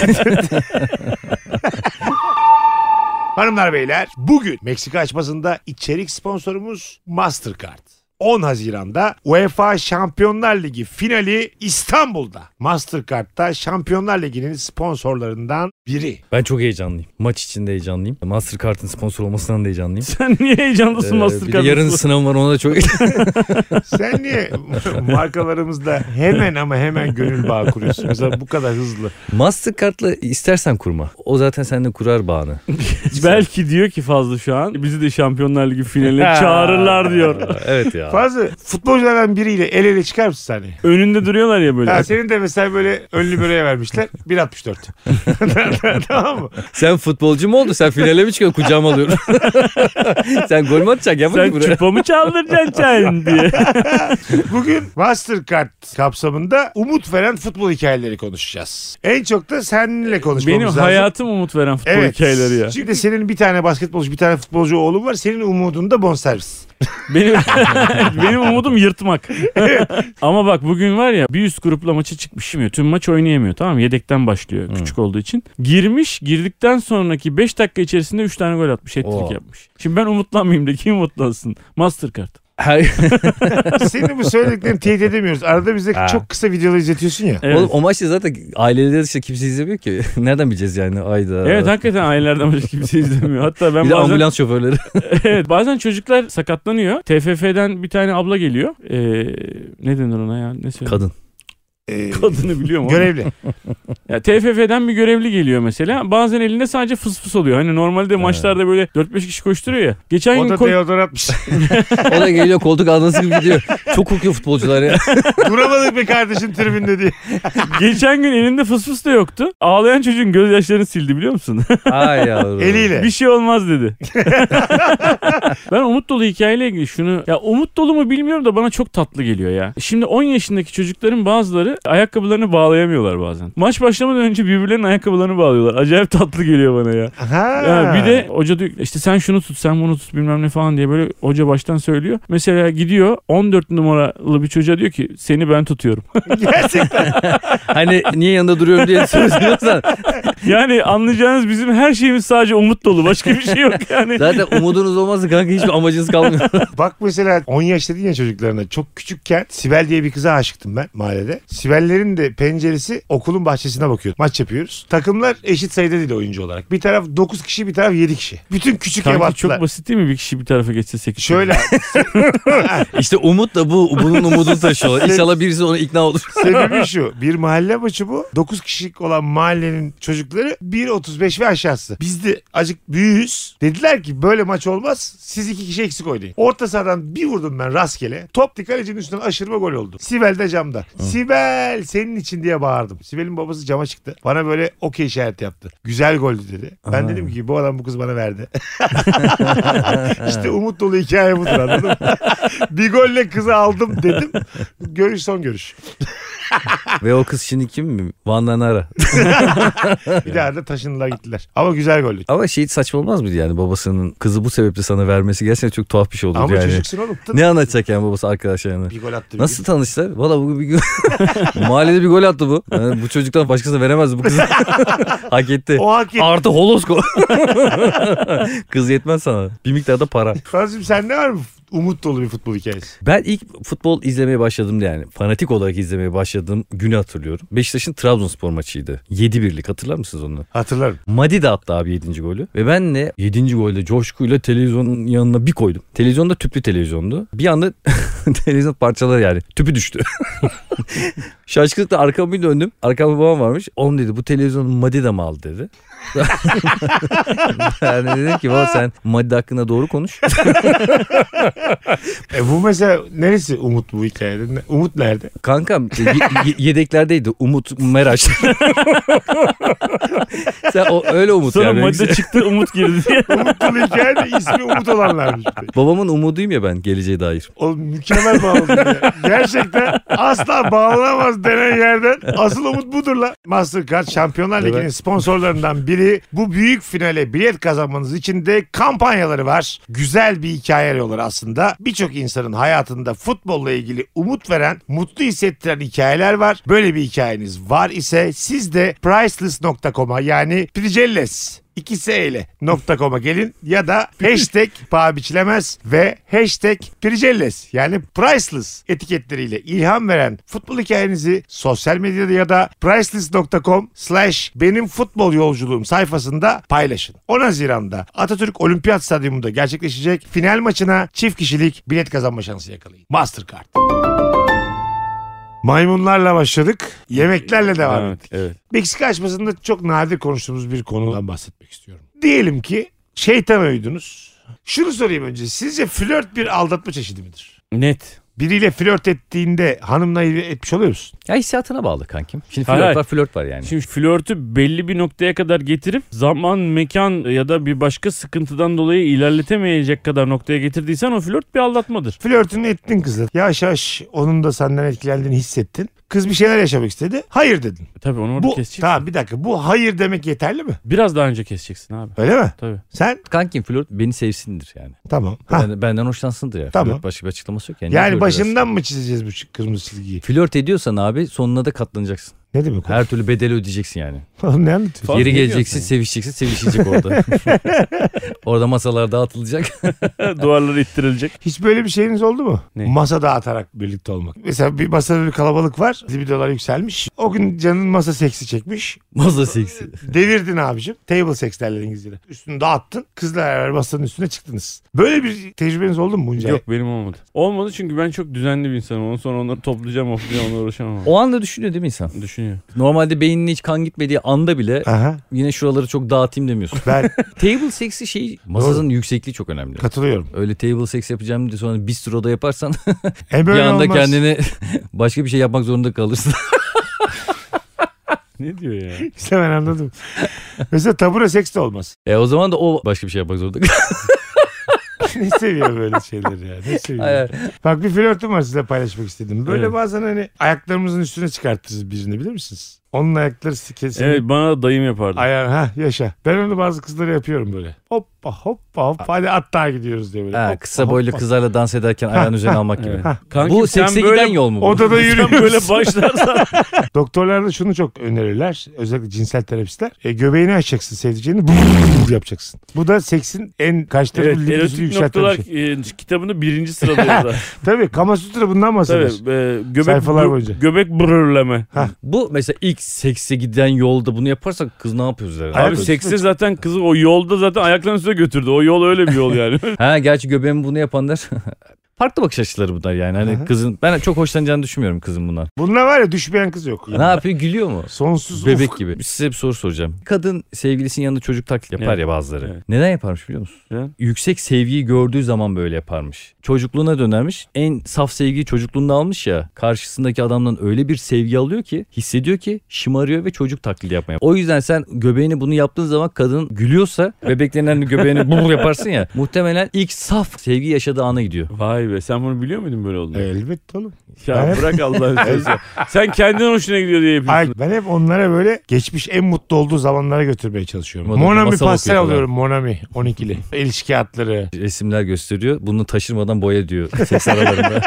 Speaker 3: Hanımlar beyler bugün Meksika açmasında içerik sponsorumuz Mastercard. 10 Haziran'da UEFA Şampiyonlar Ligi finali İstanbul'da. Mastercard'da Şampiyonlar Ligi'nin sponsorlarından biri.
Speaker 5: ben çok heyecanlıyım. Maç için de heyecanlıyım. Mastercard'ın sponsor olmasından da heyecanlıyım.
Speaker 4: Sen niye heyecanlısın
Speaker 5: Ee, bir de
Speaker 4: Mastercard'ın?
Speaker 5: yarın sınavım var ona da çok
Speaker 3: Sen niye markalarımızda hemen ama hemen gönül bağı kuruyorsun? Mesela bu kadar hızlı.
Speaker 5: Mastercard'la istersen kurma. O zaten seninle kurar bağını.
Speaker 4: Belki diyor ki fazla şu an bizi de Şampiyonlar Ligi finaline çağırırlar diyor.
Speaker 5: evet ya.
Speaker 3: Fazla futbolculardan biriyle el ele çıkar mısın sahneye?
Speaker 4: Önünde duruyorlar ya böyle.
Speaker 3: Ha, senin de mesela böyle önlü böreğe vermişler. 1.64. tamam mı?
Speaker 5: Sen futbolcu mu oldun? Sen finale mi çıkıyorsun? Kucağıma alıyorum. Sen gol mü atacaksın? Gel
Speaker 4: Sen
Speaker 5: bakayım buraya.
Speaker 4: çupamı çaldıracaksın sen diye.
Speaker 3: Bugün Mastercard kapsamında umut veren futbol hikayeleri konuşacağız. En çok da seninle konuşmamız
Speaker 4: Benim
Speaker 3: lazım.
Speaker 4: hayatım umut veren futbol hikayeleri ya.
Speaker 3: Çünkü de senin bir tane basketbolcu bir tane futbolcu oğlum var. Senin umudun da bonservis.
Speaker 4: Benim, benim umudum yırtmak. Ama bak bugün var ya bir üst grupla maça çıkmışım ya. Tüm maç oynayamıyor tamam mı? Yedekten başlıyor küçük olduğu için. Girmiş girdikten sonraki 5 dakika içerisinde 3 tane gol atmış. Etkilik
Speaker 5: Oo.
Speaker 4: yapmış. Şimdi ben umutlanmayayım da kim umutlansın? Mastercard.
Speaker 5: Her-
Speaker 3: Senin bu söylediklerini teyit edemiyoruz. Arada bize
Speaker 5: Ha.
Speaker 3: çok kısa videolar izletiyorsun ya.
Speaker 4: Evet.
Speaker 5: Oğlum o maçta zaten aileleri dışında kimse izlemiyor ki. Nereden bileceğiz yani? Ayda.
Speaker 4: Evet hakikaten ailelerden başka kimse izlemiyor. Hatta ben
Speaker 5: bir de
Speaker 4: bazen
Speaker 5: ambulans şoförleri.
Speaker 4: evet bazen çocuklar sakatlanıyor. TFF'den bir tane abla geliyor. Ee, ne denir ona ya? Ne söyleyeyim?
Speaker 5: Kadın.
Speaker 3: e,
Speaker 4: Kadını biliyorum ama.
Speaker 3: görevli.
Speaker 4: Ya TFF'den bir görevli geliyor mesela. Bazen elinde sadece fıs fıs oluyor. Hani normalde maçlarda böyle 4-5 kişi koşturuyor ya. Geçen
Speaker 3: O
Speaker 4: gün
Speaker 3: da
Speaker 4: koy-
Speaker 3: deodorantmış.
Speaker 5: O da geliyor koltuk adası gibi gidiyor. Çok kokuyor futbolcular ya.
Speaker 3: Duramadık be kardeşim tribünde diye.
Speaker 4: geçen gün elinde fıs fıs da yoktu. Ağlayan çocuğun gözyaşlarını sildi biliyor musun?
Speaker 5: Ay yavrum.
Speaker 3: Eliyle.
Speaker 4: bir şey olmaz dedi. ben umut dolu hikayeyle ilgili şunu ya umut dolu mu bilmiyorum da bana çok tatlı geliyor ya. Şimdi 10 yaşındaki çocukların bazıları ayakkabılarını bağlayamıyorlar bazen. Maç başlamadan önce birbirlerinin ayakkabılarını bağlıyorlar. Acayip tatlı geliyor bana ya.
Speaker 3: Ha.
Speaker 4: Ya bir de hoca diyor işte sen şunu tut sen bunu tut bilmem ne falan diye böyle hoca baştan söylüyor. Mesela gidiyor 14 numaralı bir çocuğa diyor ki seni ben tutuyorum.
Speaker 3: Gerçekten.
Speaker 5: Hani niye yanında duruyorum diye söylüyorsan
Speaker 4: Yani anlayacağınız bizim her şeyimiz sadece umut dolu başka bir şey yok yani.
Speaker 5: zaten umudunuz olmazsa kanka hiçbir amacınız kalmıyor.
Speaker 3: Bak mesela 10 yaş dedin ya çocuklarına. Çok küçükken Sibel diye bir kıza aşıktım ben mahallede. Sibellerin de penceresi okulun bahçesine bakıyor. Maç yapıyoruz. Takımlar eşit sayıda değil oyuncu olarak. Bir taraf 9 kişi bir taraf 7 kişi. Bütün küçük ev
Speaker 4: Kanka
Speaker 3: ebatlar.
Speaker 4: çok basit değil mi bir kişi bir tarafa geçse 8
Speaker 3: Şöyle
Speaker 5: İşte umut da bu. Bunun umudunu taşıyorlar. İnşallah birisi ona ikna olur.
Speaker 3: Sebebi şu. Bir mahalle maçı bu. 9 kişilik olan mahallenin çocukları 1.35 ve aşağısı. Biz de acık büyüğüz. Dediler ki böyle maç olmaz. Siz iki kişi eksik oynayın. Orta sahadan bir vurdum ben rastgele. Top dik kalecinin üstünden aşırma gol oldu. Sibel de camda. Sibel senin için diye bağırdım. Sibel'in babası cama çıktı. Bana böyle okey işareti yaptı. Güzel goldü dedi. Ben dedim ki bu adam bu kız bana verdi. işte umut dolu hikaye budur anladın mı? bir golle kızı aldım dedim. Görüş son görüş.
Speaker 5: Ve o kız şimdi kim mi? Van'dan ara.
Speaker 3: Bir daha da taşındılar gittiler. Ama güzel gollü.
Speaker 5: Ama şey hiç saçma olmaz mıydı yani babasının kızı bu sebeple sana vermesi gerçekten çok tuhaf bir şey olur
Speaker 3: Ama
Speaker 5: yani.
Speaker 3: çocuksun oğlum. Tın.
Speaker 5: Ne anlatacak yani babası arkadaşlarına?
Speaker 3: Bir gol attı. bir
Speaker 5: Nasıl tanıştılar? Valla bugün bir gö- mahallede bir gol attı bu. Yani bu çocuktan başkasına veremezdi bu kızı. Hak etti.
Speaker 3: gün. O hak etti.
Speaker 5: Artı holosko. Kız yetmez sana. Bir miktar da para.
Speaker 3: Kazım sen ne var mı? Umut dolu bir futbol hikayesi.
Speaker 5: Ben ilk futbol izlemeye başladığımda yani fanatik olarak izlemeye başladığım günü hatırlıyorum. Beşiktaş'ın Trabzonspor maçıydı. 7-1'lik hatırlar mısınız onu?
Speaker 3: Hatırlarım.
Speaker 5: Madi de attı abi 7. golü. Ve ben de 7. golde coşkuyla televizyonun yanına bir koydum. Televizyon da tüplü televizyondu. Bir anda televizyon parçaları yani. Tüpü düştü. Şaşkınlıkla arkama bir döndüm. Arkamda babam varmış. Oğlum dedi bu televizyonu Madi de mi aldı dedi. ben de dedim ki baba sen Madi hakkında doğru konuş.
Speaker 3: E bu mesela neresi Umut bu hikayede? Ne- Umut nerede?
Speaker 5: Kankam e, ye- ye- yedeklerdeydi. Umut Meraş. sen o, öyle Umut
Speaker 4: Sonra
Speaker 5: yani.
Speaker 4: maçta çıktı umut girdi diye.
Speaker 3: Umut dolu hikayede ismi Umut olanlarmış. bir de.
Speaker 5: Babamın umuduyum ya ben geleceğe dair.
Speaker 3: Oğlum mükemmel bağladın ya. Gerçekten asla bağlanamaz denen yerden asıl umut budur la. Mastercard Şampiyonlar Ligi'nin sponsorlarından biri. Bu büyük finale bilet kazanmanız için de kampanyaları var. Güzel bir hikaye olur aslında. Birçok insanın hayatında futbolla ilgili umut veren, mutlu hissettiren hikayeler var. Böyle bir hikayeniz var ise siz de priceless.com'a yani Pricelles ikisi eyle nokta.com'a gelin ya da hashtag paha biçilemez ve hashtag pricelles yani priceless etiketleriyle ilham veren futbol hikayenizi sosyal medyada ya da priceless.com slash benim futbol yolculuğum sayfasında paylaşın. 10 Haziran'da Atatürk Olimpiyat Stadyumunda gerçekleşecek final maçına çift kişilik bilet kazanma şansı yakalayın. Mastercard. Maymunlarla başladık. Yemeklerle devam
Speaker 4: evet, evet.
Speaker 3: Meksika açmasında çok nadir konuştuğumuz bir konudan bahsetmek istiyorum. Diyelim ki şeytan uydunuz. Şunu sorayım önce. Sizce flört bir aldatma çeşidi midir?
Speaker 4: Net.
Speaker 3: Biriyle flört ettiğinde hanımla ilgili etmiş oluyor musun?
Speaker 5: Ya hissiyatına bağlı kankim. Şimdi
Speaker 4: Hayır,
Speaker 5: flört
Speaker 4: hayır.
Speaker 5: var flört var yani.
Speaker 4: Şimdi flörtü belli bir noktaya kadar getirip zaman, mekan ya da bir başka sıkıntıdan dolayı ilerletemeyecek kadar noktaya getirdiysen o flört bir aldatmadır.
Speaker 3: Flörtünü ettin kızla. Yavaş yavaş onun da senden etkilendiğini hissettin. Kız bir şeyler yaşamak istedi. Hayır dedin.
Speaker 4: Tabii onu orada
Speaker 3: Bu,
Speaker 4: keseceksin.
Speaker 3: tamam bir dakika. Bu hayır demek yeterli mi?
Speaker 4: Biraz daha önce keseceksin abi.
Speaker 3: Öyle mi?
Speaker 4: Tabii.
Speaker 3: Sen?
Speaker 5: Kankim flört beni sevsindir yani.
Speaker 3: Tamam. Ha.
Speaker 5: Ben, benden hoşlansındır ya.
Speaker 3: Ah. Tamam.
Speaker 5: Flört başka bir açıklaması yok yani. Ne
Speaker 3: Yani
Speaker 5: flört
Speaker 3: başından
Speaker 5: edersin?
Speaker 3: mı çizeceğiz bu kırmızı çizgiyi?
Speaker 5: Flört ediyorsan abi sonuna da katlanacaksın.
Speaker 3: Ne demek o?
Speaker 5: Her türlü bedeli ödeyeceksin yani.
Speaker 3: Oğlum ne anlatıyorsun?
Speaker 4: Fark
Speaker 5: Geri
Speaker 4: ediyorsun
Speaker 5: geleceksin,
Speaker 4: yani.
Speaker 5: sevişeceksin, sevişecek orada. orada masalar dağıtılacak.
Speaker 4: Duvarları ittirilecek.
Speaker 3: Hiç böyle bir şeyiniz oldu mu?
Speaker 4: Ne?
Speaker 3: Masa dağıtarak birlikte olmak. Mesela bir masada bir kalabalık var. Libidolar yükselmiş. O gün canın masa seksi çekmiş.
Speaker 5: Masa seksi.
Speaker 3: Devirdin abicim. Table sex derler İngilizce'de. Üstünü dağıttın. Kızla beraber masanın üstüne çıktınız. Böyle bir tecrübeniz oldu mu bunca?
Speaker 4: Yok benim olmadı. Olmadı çünkü ben çok düzenli bir insanım. Ondan sonra onları toplayacağım, toplayacağım, onunla uğraşamam.
Speaker 5: O anda düşünüyor değil mi insan?
Speaker 4: Düşünüyor.
Speaker 5: Normalde beynine hiç kan gitmediği anda bile
Speaker 3: Aha.
Speaker 5: yine şuraları çok dağıtayım demiyorsun.
Speaker 3: Ben
Speaker 5: table sex'i şey masanın yüksekliği çok önemli.
Speaker 3: katılıyorum.
Speaker 5: Öyle table sex yapacağım diye sonra bistroda yaparsan
Speaker 3: E
Speaker 5: bir
Speaker 3: böyle
Speaker 5: anda
Speaker 3: olmaz.
Speaker 5: kendini başka bir şey yapmak zorunda kalırsın.
Speaker 4: Ne diyor ya?
Speaker 3: İşte ben anladım. Mesela tabure seks de olmaz.
Speaker 5: e o zaman da o başka bir şey yapmak zorunda
Speaker 3: ne seviyor böyle şeyleri ya? Ne seviyor?
Speaker 5: kalır.
Speaker 3: Bak bir flörtüm var size paylaşmak istedim. Böyle
Speaker 4: Evet.
Speaker 3: bazen hani ayaklarımızın üstüne çıkartırız birini bilir misiniz? Onun ayakları kesin.
Speaker 4: Evet bana da dayım yapardı.
Speaker 3: Ayağın ha yaşa. Ben onu bazı kızlara yapıyorum böyle. Hoppa hoppa hoppa hadi hatta gidiyoruz diye böyle.
Speaker 5: ha,
Speaker 3: Hoppa,
Speaker 5: kısa boylu
Speaker 3: hoppa.
Speaker 5: kızlarla dans ederken ayağın üzerine almak gibi.
Speaker 4: Evet.
Speaker 3: Ha.
Speaker 4: Kankim,
Speaker 5: bu
Speaker 4: sen
Speaker 5: sekse
Speaker 4: böyle-
Speaker 5: giden yol mu bu?
Speaker 3: Odada
Speaker 4: Sen
Speaker 3: yürüyoruz.
Speaker 4: böyle başlarsan.
Speaker 3: Doktorlar da şunu çok önerirler. Özellikle cinsel terapistler. E, göbeğini açacaksın sevdiceğini brrrr yapacaksın. Bu da seksin en kaç tarafı
Speaker 4: evet,
Speaker 3: evet, libidosunu
Speaker 4: erotik
Speaker 3: yükselten
Speaker 4: noktalar
Speaker 3: bir şey.
Speaker 4: e, kitabını birinci sırada yazar.
Speaker 3: Tabii Kama Sutra bundan
Speaker 4: Tabii.
Speaker 3: bahsediyor.
Speaker 4: e, göbek,
Speaker 3: Sayfalar
Speaker 4: gö-
Speaker 3: boyunca.
Speaker 4: Göbek brürleme.
Speaker 5: Bu mesela ilk sekse giden yolda bunu yaparsak kız ne yapıyor üzerine?
Speaker 3: Ayak
Speaker 4: Abi
Speaker 3: ucu.
Speaker 4: sekse zaten kızı o yolda zaten ayaklarının üstüne götürdü. O yol öyle bir yol yani.
Speaker 3: şey-
Speaker 5: Ha gerçi göbeğimi bunu yapanlar farklı bakış açıları bunlar yani. Hani
Speaker 3: Aha.
Speaker 5: kızın ben çok hoşlanacağını düşünmüyorum kızın bundan.
Speaker 3: Bununla var ya düşmeyen kız yok.
Speaker 5: Ne yapıyor gülüyor mu?
Speaker 3: Sonsuz
Speaker 5: Bebek
Speaker 3: ufk.
Speaker 5: gibi. Size bir soru soracağım. Kadın sevgilisinin yanında çocuk taklit yapar
Speaker 4: Evet.
Speaker 5: ya bazıları.
Speaker 4: Evet.
Speaker 5: Neden yaparmış biliyor musun?
Speaker 4: Neden?
Speaker 5: Yüksek sevgiyi gördüğü zaman böyle yaparmış. Çocukluğuna dönermiş. En saf sevgiyi çocukluğunda almış ya. Karşısındaki adamdan öyle bir sevgi alıyor ki hissediyor ki şımarıyor ve çocuk taklidi yapmaya. O yüzden sen göbeğini bunu yaptığın zaman kadın gülüyorsa bebeklerinden göbeğini bur yaparsın ya. Muhtemelen ilk saf sevgi yaşadığı ana gidiyor.
Speaker 4: Vay be sen bunu biliyor muydun böyle olduğunu?
Speaker 3: E, Elbette oğlum.
Speaker 4: Ya
Speaker 3: Evet.
Speaker 4: bırak Allah'ın sözü. Sen kendin hoşuna gidiyor diye yapıyorsun.
Speaker 3: Ay, ben hep onlara böyle geçmiş en mutlu olduğu zamanlara götürmeye çalışıyorum.
Speaker 5: Modern
Speaker 3: Monami
Speaker 5: masal
Speaker 3: pastel
Speaker 5: okuyor falan.
Speaker 3: alıyorum Monami 12'li. İlişki atları.
Speaker 5: Resimler gösteriyor. Bunu taşırmadan boya diyor ses aralarında.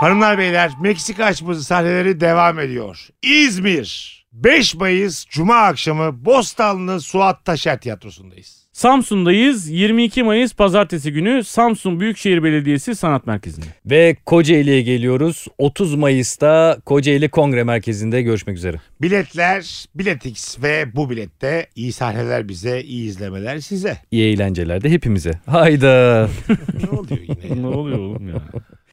Speaker 3: Hanımlar beyler Meksika açması sahneleri devam ediyor. İzmir 5 Mayıs Cuma akşamı Bostanlı Suat Taşer Tiyatrosu'ndayız.
Speaker 4: Samsun'dayız. 22 Mayıs pazartesi günü Samsun Büyükşehir Belediyesi Sanat Merkezi'nde.
Speaker 5: Ve Kocaeli'ye geliyoruz. 30 Mayıs'ta Kocaeli Kongre Merkezi'nde görüşmek üzere.
Speaker 3: Biletler Biletix ve bu bilette iyi sahneler bize, iyi izlemeler size.
Speaker 5: İyi eğlenceler de hepimize. Hayda.
Speaker 3: Ne oluyor yine? ya?
Speaker 4: ne oluyor oğlum ya?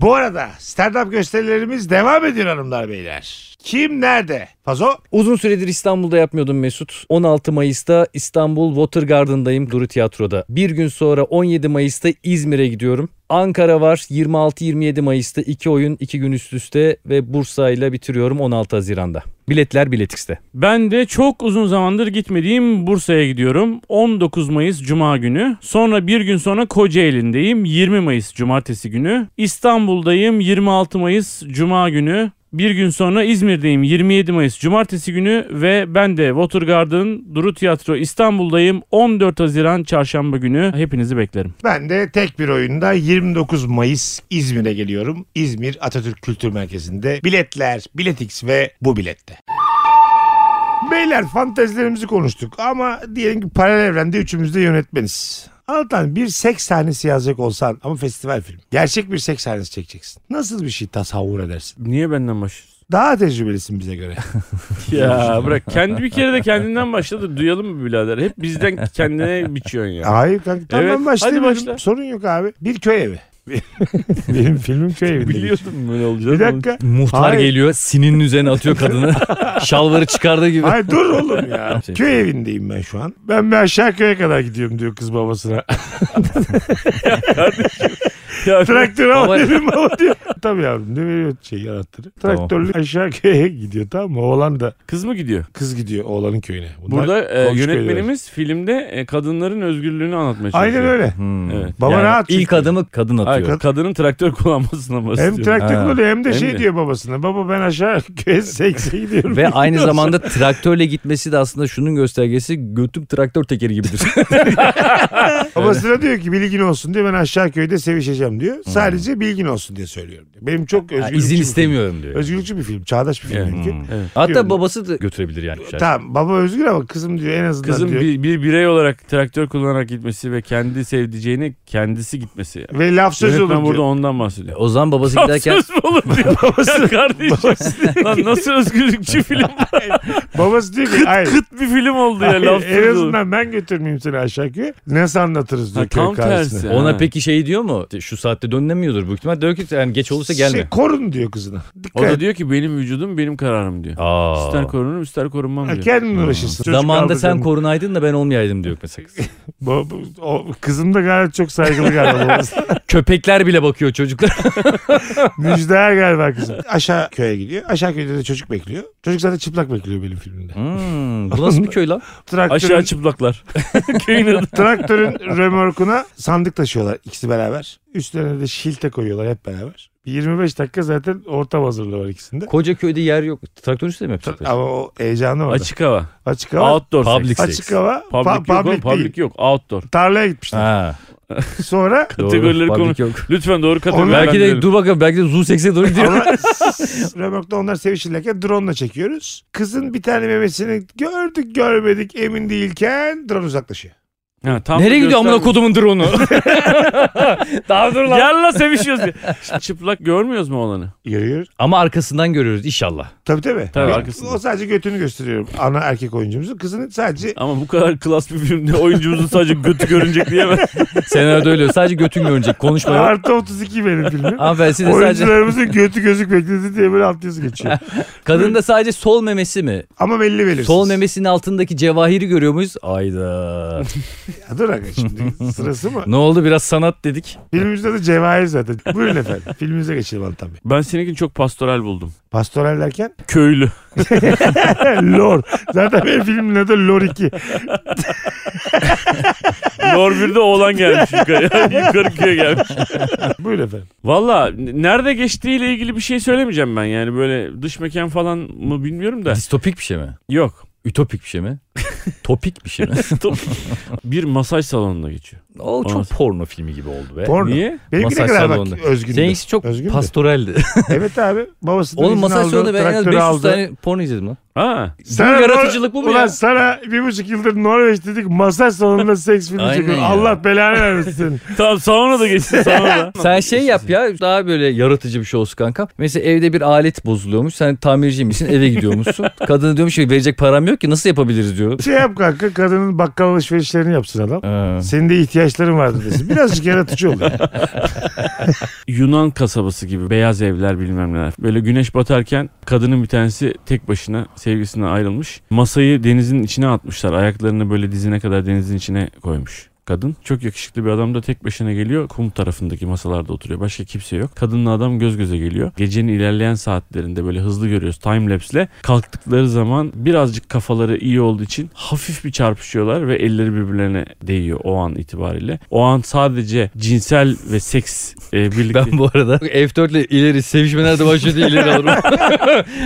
Speaker 3: bu arada stand-up gösterilerimiz devam ediyor hanımlar beyler. Kim nerede? Pazo?
Speaker 5: Uzun süredir İstanbul'da yapmıyordum Mesut. 16 Mayıs'ta İstanbul Water Garden'dayım Duru Tiyatro'da. Bir gün sonra 17 Mayıs'ta İzmir'e gidiyorum. Ankara var 26-27 Mayıs'ta iki oyun iki gün üst üste ve Bursa ile bitiriyorum 16 Haziran'da. Biletler Biletix'te.
Speaker 4: Ben de çok uzun zamandır gitmediğim Bursa'ya gidiyorum. 19 Mayıs Cuma günü. Sonra bir gün sonra Kocaeli'ndeyim. 20 Mayıs Cumartesi günü. İstanbul'dayım 26 Mayıs Cuma günü. Bir gün sonra İzmir'deyim 27 Mayıs Cumartesi günü ve ben de Watergarden Duru Tiyatro İstanbul'dayım 14 Haziran Çarşamba günü. Hepinizi beklerim.
Speaker 3: Ben de tek bir oyunda 29 Mayıs İzmir'e geliyorum. İzmir Atatürk Kültür Merkezi'nde. Biletler, Biletix ve bu bilette. Beyler fantezilerimizi konuştuk ama diyelim ki paralel evrende üçümüz de yönetmeniz. Anlatan bir seks sahnesi yazacak olsan ama festival film. Gerçek bir seks sahnesi çekeceksin. Nasıl bir şey tasavvur edersin?
Speaker 4: Niye benden başlıyorsun?
Speaker 3: Daha tecrübelisin bize göre.
Speaker 4: Ya bırak kendi bir kere de kendinden başladı. Duyalım mı birader? Hep bizden kendine biçiyorsun ya.
Speaker 3: Hayır kanka tamam
Speaker 4: Evet,
Speaker 3: ben
Speaker 4: hadi
Speaker 3: başlayayım.
Speaker 4: başla.
Speaker 3: Sorun yok abi. Bir köy evi. Benim filmim köy evi.
Speaker 4: Biliyordum böyle olacağını.
Speaker 3: Bir dakika.
Speaker 5: Muhtar
Speaker 3: Hayır.
Speaker 5: geliyor sininin üzerine atıyor kadını. Şalvarı çıkardığı gibi.
Speaker 3: Ay dur oğlum ya.
Speaker 5: Şey-
Speaker 3: Köy evindeyim ben şu an. Ben bir aşağı köye kadar gidiyorum diyor kız babasına.
Speaker 4: Ya
Speaker 3: Traktörü
Speaker 5: Baba-
Speaker 3: al dedim baba diyor. Tabii yavrum ne veriyor şey anahtarı.
Speaker 5: Tamam.
Speaker 3: Traktörlü aşağı köye gidiyor tamam mı? Oğlan da
Speaker 4: Kız mı gidiyor?
Speaker 3: kız gidiyor oğlanın köyüne. Bunlar
Speaker 4: Burada e,
Speaker 3: komşu köyler.
Speaker 4: yönetmenimiz filmde e, kadınların özgürlüğünü anlatmaya çalışıyor.
Speaker 3: Aynen öyle.
Speaker 5: Hmm.
Speaker 4: Evet.
Speaker 3: Baba rahat
Speaker 5: İlk
Speaker 3: çünkü.
Speaker 5: adımı kadın atıyor.
Speaker 4: Hayır, kadının traktör kullanmasına
Speaker 3: Hem
Speaker 4: bahsediyorum.
Speaker 5: Ha.
Speaker 3: traktör oluyor hem de
Speaker 4: Hem
Speaker 3: şey
Speaker 4: de.
Speaker 3: diyor babasına. Baba ben aşağı köye sekse gidiyorum.
Speaker 5: Ve aynı zamanda traktörle gitmesi de aslında şunun göstergesi götüm traktör tekeri gibidir.
Speaker 3: babasına diyor ki bilgin olsun diyor ben aşağı köyde sevişeceğim. yapacağım diyor. Sadece bilgin olsun diye söylüyorum. diyor. Benim çok
Speaker 5: Hmm. Ha,
Speaker 3: özgürlükçü
Speaker 5: izin
Speaker 3: bir
Speaker 5: istemiyorum Hmm.
Speaker 3: film.
Speaker 5: diyor.
Speaker 3: Özgürlükçü bir film. Çağdaş bir film.
Speaker 4: Evet.
Speaker 3: çünkü.
Speaker 4: Evet.
Speaker 5: Hatta
Speaker 3: diyorum.
Speaker 5: babası da götürebilir yani.
Speaker 3: Tamam baba özgür ama kızım diyor en azından
Speaker 4: Kızın
Speaker 3: diyor.
Speaker 4: bir, bir birey olarak traktör kullanarak gitmesi ve kendi sevdiceğini kendisi gitmesi.
Speaker 3: Ve laf sözü olur
Speaker 4: Yönetmen
Speaker 3: diyor.
Speaker 4: burada ondan bahsediyor.
Speaker 5: O zaman babası giderken
Speaker 4: Söz mü olur diyor. ya kardeşim. Lan nasıl özgürlükçü film?
Speaker 3: Babası diyor ki hayır.
Speaker 4: Kıt bir film oldu ya.
Speaker 3: hayır,
Speaker 4: Laf
Speaker 3: en
Speaker 4: sözü olur.
Speaker 3: azından ben götürmeyeyim seni aşağı köye. Nasıl anlatırız diyor
Speaker 4: Ha,
Speaker 3: köy
Speaker 4: tam
Speaker 3: karşısına.
Speaker 4: tersi.
Speaker 5: ona
Speaker 4: Ha.
Speaker 5: peki şey diyor mu? Şu saatte dönemiyordur büyük ihtimal. Diyor ki yani geç olursa gelme.
Speaker 3: Şey, korun diyor kızına.
Speaker 4: O
Speaker 3: Dikkat
Speaker 4: da
Speaker 3: et.
Speaker 4: diyor ki benim vücudum benim kararım diyor.
Speaker 5: Aa.
Speaker 4: İster korunurum ister korunmam
Speaker 3: Ha,
Speaker 4: diyor.
Speaker 3: Kendin uğraşırsın. Çocuk
Speaker 5: Zamanında sen
Speaker 3: aldırdın.
Speaker 5: korunaydın da ben olmayaydım diyor mesela.
Speaker 3: Bu- bu- o, kızım da gayet çok saygılı galiba. babası.
Speaker 5: Köpekler bile bakıyor çocuklar.
Speaker 3: Müjdeye galiba kızım. Aşağı köye gidiyor. Aşağı köyde de çocuk bekliyor. Çocuk zaten çıplak bekliyor benim filmimde.
Speaker 5: Hmm, bu nasıl bir köy lan?
Speaker 3: Traktörün,
Speaker 4: Aşağı çıplaklar. Köyün adı.
Speaker 3: traktörün römorkuna sandık taşıyorlar ikisi beraber. Üstlerine de şilte koyuyorlar hep beraber. Bir 25 dakika zaten ortam hazırlıyorlar ikisinde.
Speaker 5: Koca köyde yer yok. Traktör üstü mi yapacaklar?
Speaker 3: Ama o heyecanı orada. Açık,
Speaker 4: Açık hava.
Speaker 3: hava.
Speaker 4: Outdoor.
Speaker 5: Public
Speaker 4: sex.
Speaker 5: sex.
Speaker 3: Açık hava. pa-
Speaker 4: Public,
Speaker 3: Public,
Speaker 4: yok, oğlum,
Speaker 3: değil.
Speaker 4: public yok. Outdoor.
Speaker 3: Tarlaya gitmişler.
Speaker 5: Ha,
Speaker 3: Sonra
Speaker 5: doğru.
Speaker 4: Kategorileri
Speaker 5: Public
Speaker 4: konu.
Speaker 5: yok.
Speaker 4: Lütfen doğru kategori.
Speaker 5: Belki de dur bakalım belki de Zoo Sex'e doğru gidiyor.
Speaker 3: Ama römorkta onlar sevişirlerken drone ile çekiyoruz. Kızın bir tane memesini gördük görmedik emin değilken drone uzaklaşıyor.
Speaker 4: Ha, tam
Speaker 5: Nereye
Speaker 4: da
Speaker 5: gidiyor amına
Speaker 4: göstermiyor.
Speaker 5: kodumun drone'u? Daha dur lan.
Speaker 4: Yalla sevişiyoruz diye. Şimdi Çıplak görmüyoruz mu olanı?
Speaker 3: Görüyoruz.
Speaker 5: Ama arkasından görüyoruz inşallah.
Speaker 3: Tabii tabii.
Speaker 4: Tabii,
Speaker 3: Bir-
Speaker 4: arkasında.
Speaker 3: O sadece götünü gösteriyorum. Ana erkek oyuncumuzun. Kızının sadece
Speaker 4: Ama bu kadar klas bir filmde oyuncumuzun sadece götü görünecek diye ben.
Speaker 5: Senaryoda öyle sadece götün görünecek konuşma yok.
Speaker 3: artı 32 benim filmim.
Speaker 5: Hanımefendi siz de sadece
Speaker 3: Oyuncularımızın götü gözük bekledi diye böyle alt yazı geçiyor.
Speaker 5: kadın da sadece sol memesi mi?
Speaker 3: Ama belli belirsiz.
Speaker 5: Sol memesinin altındaki cevahiri görüyor muyuz? Ayda.
Speaker 3: Ya Dur aga şimdi sırası mı?
Speaker 5: ne oldu biraz sanat dedik.
Speaker 3: Filmimizde de cevahir zaten. Buyurun efendim. Filmimize geçelim Antan Bey.
Speaker 4: Ben seninkini çok pastoral buldum.
Speaker 3: Pastoral derken
Speaker 4: Köylü.
Speaker 3: lor. Zaten benim filmin adı Lor 2.
Speaker 4: Lor 1'de oğlan gelmiş yukarı. yukarı köye gelmiş.
Speaker 3: Buyurun efendim.
Speaker 4: Valla nerede geçtiğiyle ilgili bir şey söylemeyeceğim ben. Yani böyle dış mekan falan mı bilmiyorum da.
Speaker 5: Distopik bir şey mi?
Speaker 4: Yok.
Speaker 5: Ütopik bir şey mi? Topik bir şey mi?
Speaker 4: Bir masaj salonunda geçiyor.
Speaker 5: o çok
Speaker 4: Olmaz.
Speaker 5: porno filmi gibi oldu be.
Speaker 3: Porno.
Speaker 4: Niye?
Speaker 3: Benimki ne
Speaker 5: Masaj
Speaker 3: kadar bak
Speaker 5: salonunda.
Speaker 3: özgündü.
Speaker 5: Seninkisi çok
Speaker 3: Özgün de.
Speaker 5: pastoraldi.
Speaker 3: Evet abi. Babasından
Speaker 5: Oğlum
Speaker 3: izin
Speaker 5: masaj
Speaker 3: aldı,
Speaker 5: sonunda ben en az
Speaker 3: traktörü
Speaker 5: 500
Speaker 3: aldı.
Speaker 5: tane porno izledim lan.
Speaker 4: Ha.
Speaker 3: Sana
Speaker 5: Bu yaratıcılık bu mu
Speaker 3: ulan
Speaker 5: ya?
Speaker 3: sana bir buçuk yıldır Norveç dedik masaj salonunda seks filmi
Speaker 5: Aynen
Speaker 3: çekiyor.
Speaker 5: ya.
Speaker 3: Allah belanı vermesin.
Speaker 4: Tamam sauna da geçsin sauna da.
Speaker 5: Sen şey yap ya daha böyle yaratıcı bir şey olsun kanka. Mesela evde bir alet bozuluyormuş. Sen tamirci misin eve gidiyormuşsun. Kadına diyormuş ki verecek param yok ki nasıl yapabiliriz diyor.
Speaker 3: şey yap kanka kadının bakkal alışverişlerini yapsın adam.
Speaker 5: Ee,
Speaker 3: Senin de ihtiyaçların vardı desin. Birazcık yaratıcı ol.
Speaker 4: Yunan kasabası gibi beyaz evler bilmem neler. Böyle güneş batarken kadının bir tanesi tek başına sevgisinden ayrılmış. Masayı denizin içine atmışlar. Ayaklarını böyle dizine kadar denizin içine koymuş. Kadın çok yakışıklı bir adam da tek başına geliyor. Kum tarafındaki masalarda oturuyor. Başka kimse yok. Kadınla adam göz göze geliyor. Gecenin ilerleyen saatlerinde böyle hızlı görüyoruz time lapse'le. Kalktıkları zaman birazcık kafaları iyi olduğu için hafif bir çarpışıyorlar ve elleri birbirlerine değiyor o an itibariyle. O an sadece cinsel ve seks e, birlikte
Speaker 5: ben bu arada F4 ile ileri sevişmeler de başlıyor diye ileri alırım.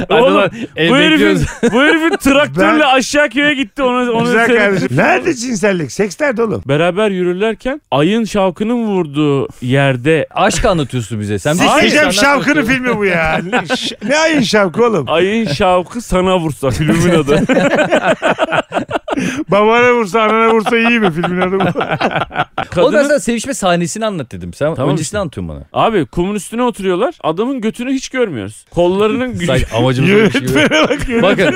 Speaker 4: Oğlum,
Speaker 5: Oğlum, el
Speaker 4: bu
Speaker 5: bekliyoruz.
Speaker 4: herifin, bu herifin traktörle
Speaker 3: Ben-
Speaker 4: aşağı köye gitti. Onu, onu
Speaker 3: Güzel
Speaker 4: söyleyeyim.
Speaker 3: kardeşim. Nerede cinsellik? Seks nerede oğlum?
Speaker 4: Beraber yürürlerken ayın şavkının vurduğu yerde
Speaker 5: Aşk anlatıyorsun bize. Sen şey bize
Speaker 3: Sikeceğim
Speaker 5: senden
Speaker 3: şavkının
Speaker 5: korkuyorsun.
Speaker 3: filmi bu ya. Ş- ne ayın şavkı oğlum?
Speaker 4: ayın şavkı sana vursa filmin adı.
Speaker 3: Babana vursa anana vursa iyi mi filmin adı bu?
Speaker 5: Oğlum ben
Speaker 4: Kadının-
Speaker 5: sana sevişme sahnesini anlat dedim. Sen
Speaker 4: Tamam
Speaker 5: öncesini
Speaker 4: işte.
Speaker 5: anlatıyorsun bana.
Speaker 4: Abi kumun üstüne oturuyorlar. Adamın götünü hiç görmüyoruz. Kollarının gücü.
Speaker 5: Sanki amacımız oymuş gibi. Bakın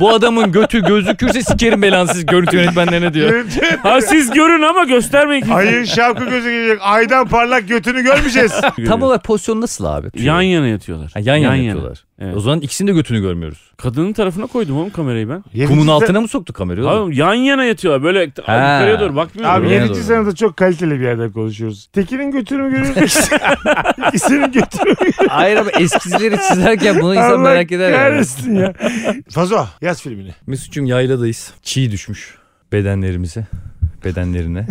Speaker 5: bu adamın götü gözükürse sikerim belanı siz görüntü yönetmenlerine diyor.
Speaker 4: ha siz görün ama göstermeyin. ki.
Speaker 3: ayın şavkı gözü gelecek. Aydan parlak götünü görmeyeceğiz.
Speaker 5: Tam olarak pozisyon nasıl abi?
Speaker 4: Yan yana yatıyorlar.
Speaker 5: Ha, yan yana yatıyorlar.
Speaker 4: Evet.
Speaker 5: O zaman ikisinin de götünü görmüyoruz.
Speaker 4: Kadının tarafına koydum oğlum kamerayı ben.
Speaker 5: Kumun altına mı soktu kamerayı? oğlum?
Speaker 4: Abi yan yana yatıyorlar. Böyle yukarıya doğru bakmıyorlar.
Speaker 3: Abi
Speaker 5: Doğru.
Speaker 3: yedinci
Speaker 5: Doğru.
Speaker 3: senede çok kaliteli bir yerden konuşuyoruz. Tekinin götünü mü görüyoruz? İkisinin götünü mü görüyoruz?
Speaker 5: Hayır ama eskizileri çizerken bunu insan
Speaker 3: Allah
Speaker 5: merak eder yani.
Speaker 3: kahretsin ya. Fazo yaz filmini.
Speaker 5: Mesut'cum yayladayız. Çiğ düşmüş bedenlerimize. Bedenlerine.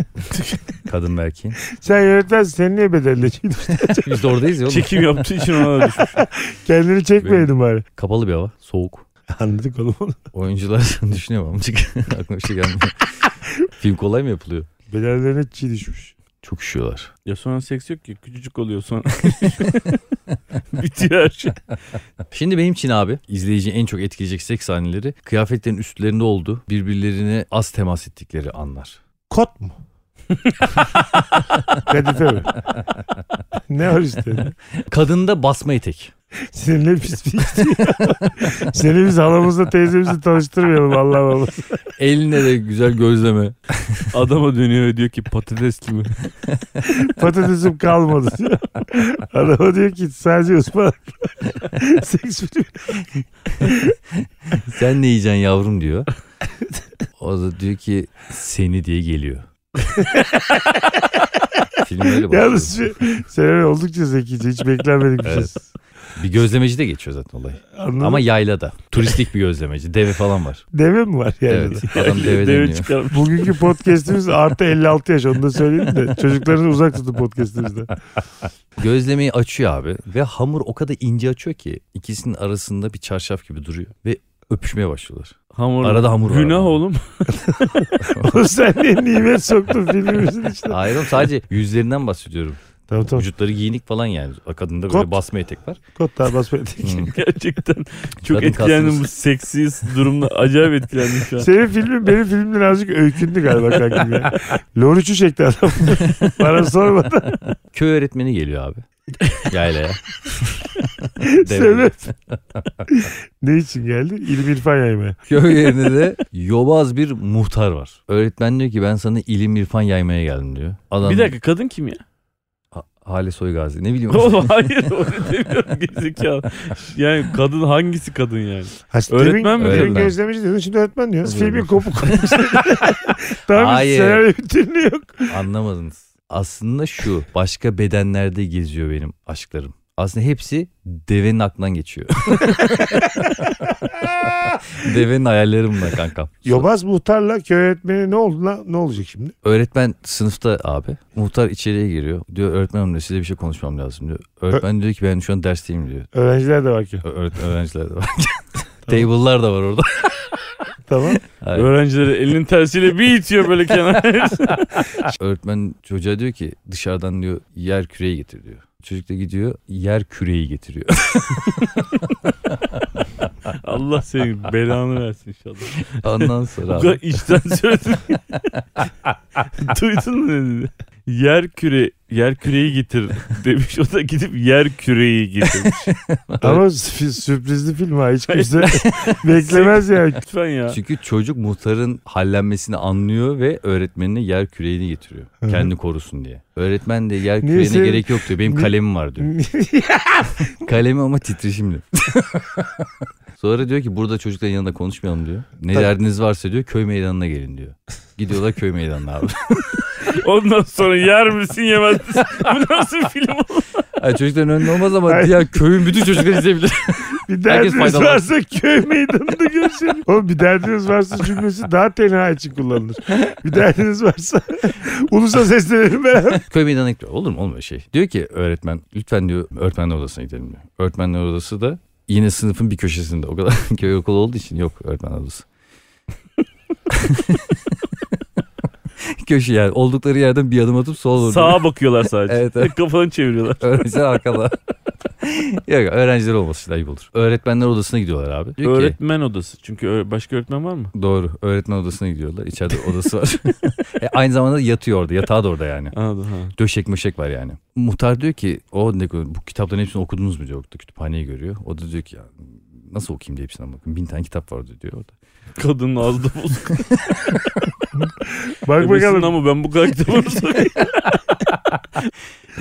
Speaker 5: Kadın belki.
Speaker 3: Sen yönetmen sen niye bedelle
Speaker 5: Biz de oradayız ya oğlum.
Speaker 4: Çekim yaptığı için ona da düşmüş.
Speaker 3: Kendini çekmeyeydin bari.
Speaker 5: Kapalı bir hava. Soğuk.
Speaker 3: Anladık oğlum onu.
Speaker 5: Oyuncular düşünüyor mu amcık? Aklıma bir şey gelmiyor. Film kolay mı yapılıyor?
Speaker 3: Bedellerine çiğ düşmüş.
Speaker 5: Çok üşüyorlar.
Speaker 4: Ya sonra seks yok ki. Küçücük oluyor sonra. Bitiyor her şey.
Speaker 5: Şimdi benim için abi izleyici en çok etkileyecek seks sahneleri kıyafetlerin üstlerinde olduğu birbirlerine az temas ettikleri anlar.
Speaker 3: Kot mu? Kadife mi? ne var üstünde?
Speaker 5: Kadında basma etek.
Speaker 3: Seninle pis bir iş değil. Seni biz halamızla teyzemizle tanıştırmayalım Allah Allah.
Speaker 5: Eline de güzel gözleme.
Speaker 4: Adama dönüyor ve diyor ki patatesli mi?
Speaker 3: Patatesim kalmadı diyor. Adama diyor ki sadece ıspanak. Seks filmi.
Speaker 5: Sen ne yiyeceksin yavrum diyor. O da diyor ki seni diye geliyor. Film öyle başlıyor.
Speaker 3: Yalnız bir, Seren oldukça zekice. Hiç beklenmedik bir şey.
Speaker 5: Evet. Bir gözlemeci de geçiyor zaten olay.
Speaker 3: Anladın
Speaker 5: Ama
Speaker 3: mı?
Speaker 5: yaylada. Turistik bir gözlemeci. Deve falan var.
Speaker 3: Deve mi var yani?
Speaker 5: Evet. Adam
Speaker 4: Deve
Speaker 5: deve deniyor.
Speaker 4: çıkarmış.
Speaker 3: Bugünkü podcastimiz artı 56 yaş onu da söyleyeyim de çocuklarını uzak tutun podcastimizde.
Speaker 5: Gözlemeyi açıyor abi. Ve hamur o kadar ince açıyor ki ikisinin arasında bir çarşaf gibi duruyor. Ve öpüşmeye başlıyorlar.
Speaker 4: Hamur.
Speaker 5: Arada hamur var.
Speaker 4: Günah
Speaker 5: ama.
Speaker 4: oğlum.
Speaker 3: O sen niye nimet soktun filmimizin içine?
Speaker 5: Hayır oğlum sadece yüzlerinden bahsediyorum.
Speaker 3: Tamam tamam
Speaker 5: Vücutları giyinik falan yani. Kadında böyle
Speaker 3: Kot.
Speaker 5: basma etek var.
Speaker 3: kot daha basmayın.
Speaker 5: Hmm.
Speaker 4: Gerçekten çok
Speaker 5: Kadın
Speaker 4: etkilendim bu
Speaker 5: kastınız.
Speaker 4: seksiz durumda. Acayip etkilendim şu
Speaker 5: Şey
Speaker 4: an.
Speaker 3: Senin filmin benim filmden azıcık öykündü galiba kankim ya. Loruç'u çekti adam. Bana sormadan
Speaker 5: Köy öğretmeni geliyor abi. Yaylaya.
Speaker 3: sebep. ne için geldi? İlim irfan yaymaya.
Speaker 5: Köy yerinde de yobaz bir muhtar var. Öğretmen diyor ki ben sana ilim irfan yaymaya geldim diyor. Adam
Speaker 4: Bir dakika kadın kim ya?
Speaker 5: Ha- Hale Soygazi ne bileyim.
Speaker 4: Oğlum hayır öyle demiyorum gerizekalı. Yani kadın hangisi kadın yani?
Speaker 3: Ha,
Speaker 4: Öğretmen
Speaker 3: demin,
Speaker 5: mi
Speaker 3: Demin
Speaker 5: öğretmen?
Speaker 3: gözlemeci diyordun şimdi öğretmen diyorsun.
Speaker 5: Öğretmen.
Speaker 3: Filmin kopuk kopuk. Tamam
Speaker 5: Hayır.
Speaker 3: senaryo bütünlüğü yok.
Speaker 5: Anlamadınız. Aslında şu başka bedenlerde geziyor benim aşklarım. Aslında hepsi devenin aklından geçiyor. devenin hayalleri bunlar kankam.
Speaker 3: Yobaz muhtarla köy öğretmeni ne oldu lan? Ne olacak şimdi?
Speaker 5: Öğretmen sınıfta abi. Muhtar içeriye giriyor. Diyor öğretmenim diyor, size bir şey konuşmam lazım diyor. Öğretmen diyor ki ben şu an dersteyim diyor.
Speaker 3: Öğrenciler de var ki.
Speaker 5: Ö- öğret- öğrenciler de var. Table'lar da var orada.
Speaker 3: Tamam.
Speaker 5: Hayır.
Speaker 4: Öğrencileri elinin tersiyle bir itiyor böyle kenara.
Speaker 5: Öğretmen çocuğa diyor ki dışarıdan diyor yer küreği getir diyor. Çocuk da gidiyor yer küreği getiriyor.
Speaker 4: Allah senin belanı versin inşallah.
Speaker 5: Ondan sonra
Speaker 4: Bu
Speaker 5: abi,
Speaker 4: kadar içten söyledin. Duydun mu ne dedi? Yer küre yer küreyi getir demiş. O da gidip yer küreyi getirmiş.
Speaker 3: Ama sü- sürprizli film ha. Hiç kimse beklemez yani.
Speaker 4: Lütfen ya.
Speaker 5: Çünkü çocuk muhtarın hallenmesini anlıyor ve öğretmenine yer küreğini getiriyor.
Speaker 3: hı.
Speaker 5: Kendi korusun diye. Öğretmen de yer
Speaker 3: Niye
Speaker 5: küreğine
Speaker 3: senin-
Speaker 5: gerek yok diyor. Benim
Speaker 3: Ni-
Speaker 5: kalemim var diyor. Kalemi ama titreşimli. Sonra diyor ki burada çocukların yanında konuşmayalım diyor. Ne
Speaker 3: Tabii.
Speaker 5: derdiniz varsa diyor köy meydanına gelin diyor. Gidiyorlar köy meydanına abi.
Speaker 4: Ondan sonra yer misin yemez misin? Bu nasıl film oğlum?
Speaker 5: Yani çocukların önünde olmaz ama
Speaker 3: Hayır.
Speaker 5: diğer köyün bütün çocukları izleyebilir.
Speaker 3: Bir
Speaker 5: Herkes
Speaker 3: derdiniz
Speaker 5: faydalı.
Speaker 3: varsa köy meydanında görüşelim. Oğlum bir derdiniz varsa cümlesi daha tenha için kullanılır. Bir derdiniz varsa ulusa seslenelim beraber.
Speaker 5: Köy meydanına gidiyor. Olur mu? Olmuyor şey. Diyor ki öğretmen lütfen diyor öğretmenler odasına gidelim diyor. Öğretmenler odası da yine sınıfın bir köşesinde. O kadar köy okulu olduğu için yok öğretmenler odası. Köşe yani oldukları yerden bir adım atıp sola doğru.
Speaker 4: Sağa bakıyorlar sadece.
Speaker 5: Evet, evet.
Speaker 4: Kafanı çeviriyorlar.
Speaker 5: Öğrenciler arkada. yok öğrenciler olması daha iyi olur. Öğretmenler odasına gidiyorlar abi. Diyor ki,
Speaker 4: Öğretmen odası. Çünkü ö- başka öğretmen var mı?
Speaker 5: Doğru. Öğretmen odasına gidiyorlar. İçeride odası var. E, aynı zamanda yatıyor orada. Yatağı da orada yani.
Speaker 4: Anladım ha.
Speaker 5: döşek möşek var yani. Muhtar diyor ki o ne bu kitapların hepsini okudunuz mu diyor. Orada kütüphaneyi görüyor. O da diyor ki ya nasıl okuyayım diye hepsine bakın. Bin tane kitap vardı diyor orada.
Speaker 4: Kadının ağzı da bozuk.
Speaker 3: Bak
Speaker 4: Ebesin
Speaker 3: bakalım.
Speaker 4: ama ben bu kadar kitabı nasıl okuyayım?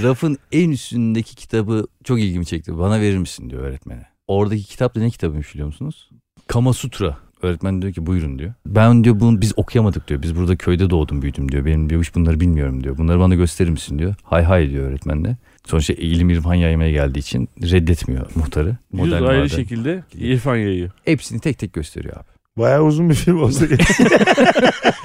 Speaker 5: Rafın en üstündeki kitabı çok ilgimi çekti. Bana verir misin diyor öğretmene. Oradaki kitap da ne kitabıymış biliyor musunuz? Kama Sutra. Öğretmen diyor ki buyurun diyor. Ben diyor bunu biz okuyamadık diyor. Biz burada köyde doğdum büyüdüm diyor. Benim diyor hiç bunları bilmiyorum diyor. Bunları bana gösterir misin diyor. Hay hay diyor öğretmen de. Sonuçta ilim irfan yaymaya geldiği için reddetmiyor muhtarı.
Speaker 4: Yüz
Speaker 5: Modern
Speaker 4: ayrı
Speaker 5: vardı.
Speaker 4: şekilde İrfan yayıyor.
Speaker 5: Hepsini tek tek gösteriyor abi.
Speaker 3: Bayağı uzun bir film olsa gerek.